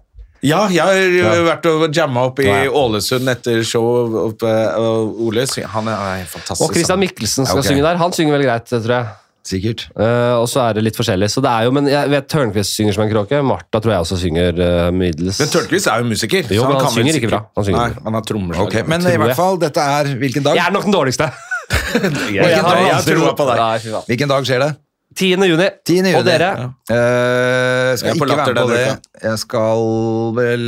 Speaker 1: Ja, jeg har jo vært og jamma opp i Ålesund etter show. Oppe, og Ole synger Han er han er helt fantastisk.
Speaker 2: Og Christian
Speaker 1: sammen.
Speaker 2: Mikkelsen
Speaker 1: Ja,
Speaker 2: skal
Speaker 1: ok.
Speaker 2: synge der. Han synger veldig greit, tror jeg.
Speaker 3: Sikkert.
Speaker 2: Eh, og så er det litt forskjellig. Så det er jo, men jeg vet Tørnquist synger som en kråke. Martha tror jeg også synger uh, middels.
Speaker 1: Men Tørnquist er jo musiker.
Speaker 2: Jo,
Speaker 1: så
Speaker 2: men han
Speaker 1: kan vel
Speaker 2: synger ikke
Speaker 1: sikkert-
Speaker 2: bra. Han synger
Speaker 1: Nei,
Speaker 2: ikke bra.
Speaker 1: han har trommeslag.
Speaker 3: Ok, Men
Speaker 2: Tror
Speaker 3: i hvert
Speaker 2: jeg.
Speaker 3: fall, dette er Hvilken
Speaker 2: Jeg
Speaker 3: dag?
Speaker 2: er nok den dårligste. jeg,
Speaker 3: jeg
Speaker 2: har
Speaker 3: tror- jeg
Speaker 2: aldri-
Speaker 1: tror på deg.
Speaker 2: Nei, fy faen.
Speaker 3: Hvilken dag skjer det?
Speaker 2: 10. juni.
Speaker 3: 10. juni.
Speaker 2: Og dere?
Speaker 3: Eh, skal
Speaker 1: Jeg er på
Speaker 3: ikke være
Speaker 1: latter
Speaker 3: med på det.
Speaker 1: denne
Speaker 3: Jeg skal vel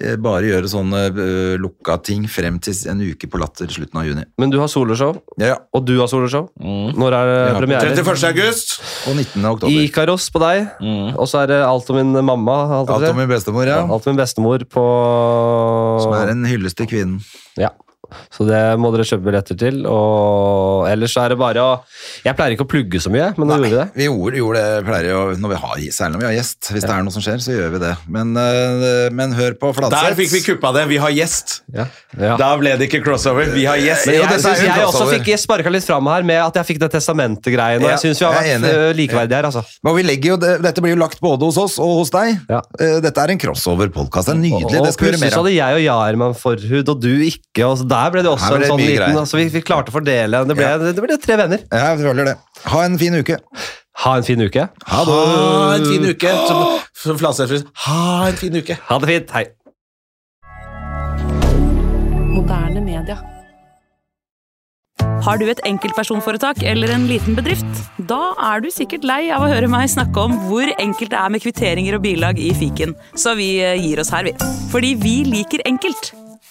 Speaker 3: eh, bare gjøre sånne eh, lukka ting frem til en uke på Latter slutten av juni.
Speaker 2: Men du har soloshow,
Speaker 3: Ja, ja.
Speaker 2: og du har soloshow. Når er det
Speaker 3: Ja.
Speaker 2: premiere?
Speaker 1: 31. august.
Speaker 3: Og 19. oktober.
Speaker 2: Ikaros på deg, og så er det alt om min mamma. Alt om
Speaker 3: Alt om
Speaker 2: min,
Speaker 3: min bestemor, ja.
Speaker 2: alt om min bestemor på
Speaker 3: Som er en hyllest til kvinnen.
Speaker 2: ja. Så det må dere kjøpe billetter til. Og ellers så er det bare å Jeg pleier ikke å plugge så mye, men nå gjorde vi det.
Speaker 3: Vi gjorde, gjorde det, pleier jo, når vi har, særlig når vi har gjest. Hvis det er noe som skjer, så gjør vi det. Men, eh, men hør på
Speaker 1: Der fikk vi
Speaker 3: Fladseth.
Speaker 1: kuppa det. Vi har gjest.
Speaker 2: Ja. Ja.
Speaker 1: Da ble det ikke crossover. Vi har gjest.
Speaker 3: Men
Speaker 2: Jeg,
Speaker 3: jo, dette er
Speaker 2: synes
Speaker 3: jo en
Speaker 2: jeg også
Speaker 3: crossover.
Speaker 2: fikk sparka litt fram her med at jeg fikk det testamentet-greiene.
Speaker 3: Ja,
Speaker 2: jeg syns vi har
Speaker 3: jeg er
Speaker 2: vært
Speaker 3: enig.
Speaker 2: eh, likeverdige her, altså.
Speaker 3: Men vi legger jo, det- dette blir jo lagt både hos oss og hos deg.
Speaker 2: Ja.
Speaker 3: Eh, Dette er en crossover-podkast. Det er nydelig.
Speaker 2: Og
Speaker 3: Det skal vi gjøre
Speaker 2: plutselig
Speaker 3: mer
Speaker 2: så
Speaker 3: av.
Speaker 2: hadde jeg og Jarman forhud, og du ikke. Og så der ble det også
Speaker 3: Her ble
Speaker 2: en
Speaker 3: det
Speaker 2: sånn
Speaker 3: mye
Speaker 2: liten
Speaker 3: greier.
Speaker 2: altså, vi, vi klarte å fordele. Det ble, det ble tre venner.
Speaker 3: Ja, jeg føler det. Ha en fin uke.
Speaker 2: Ha en fin uke.
Speaker 3: Ha det.
Speaker 1: Ha en fin uke. Som- Som Flatseth Ha en fin uke.
Speaker 2: Ha det fint. Hei.
Speaker 4: Moderne media.
Speaker 5: Har du et enkeltpersonforetak eller en liten bedrift? Da er du sikkert lei av å høre meg snakke om hvor enkelt det er med kvitteringer og bilag i fiken, så vi eh, gir oss her, vi. Fordi vi liker enkelt.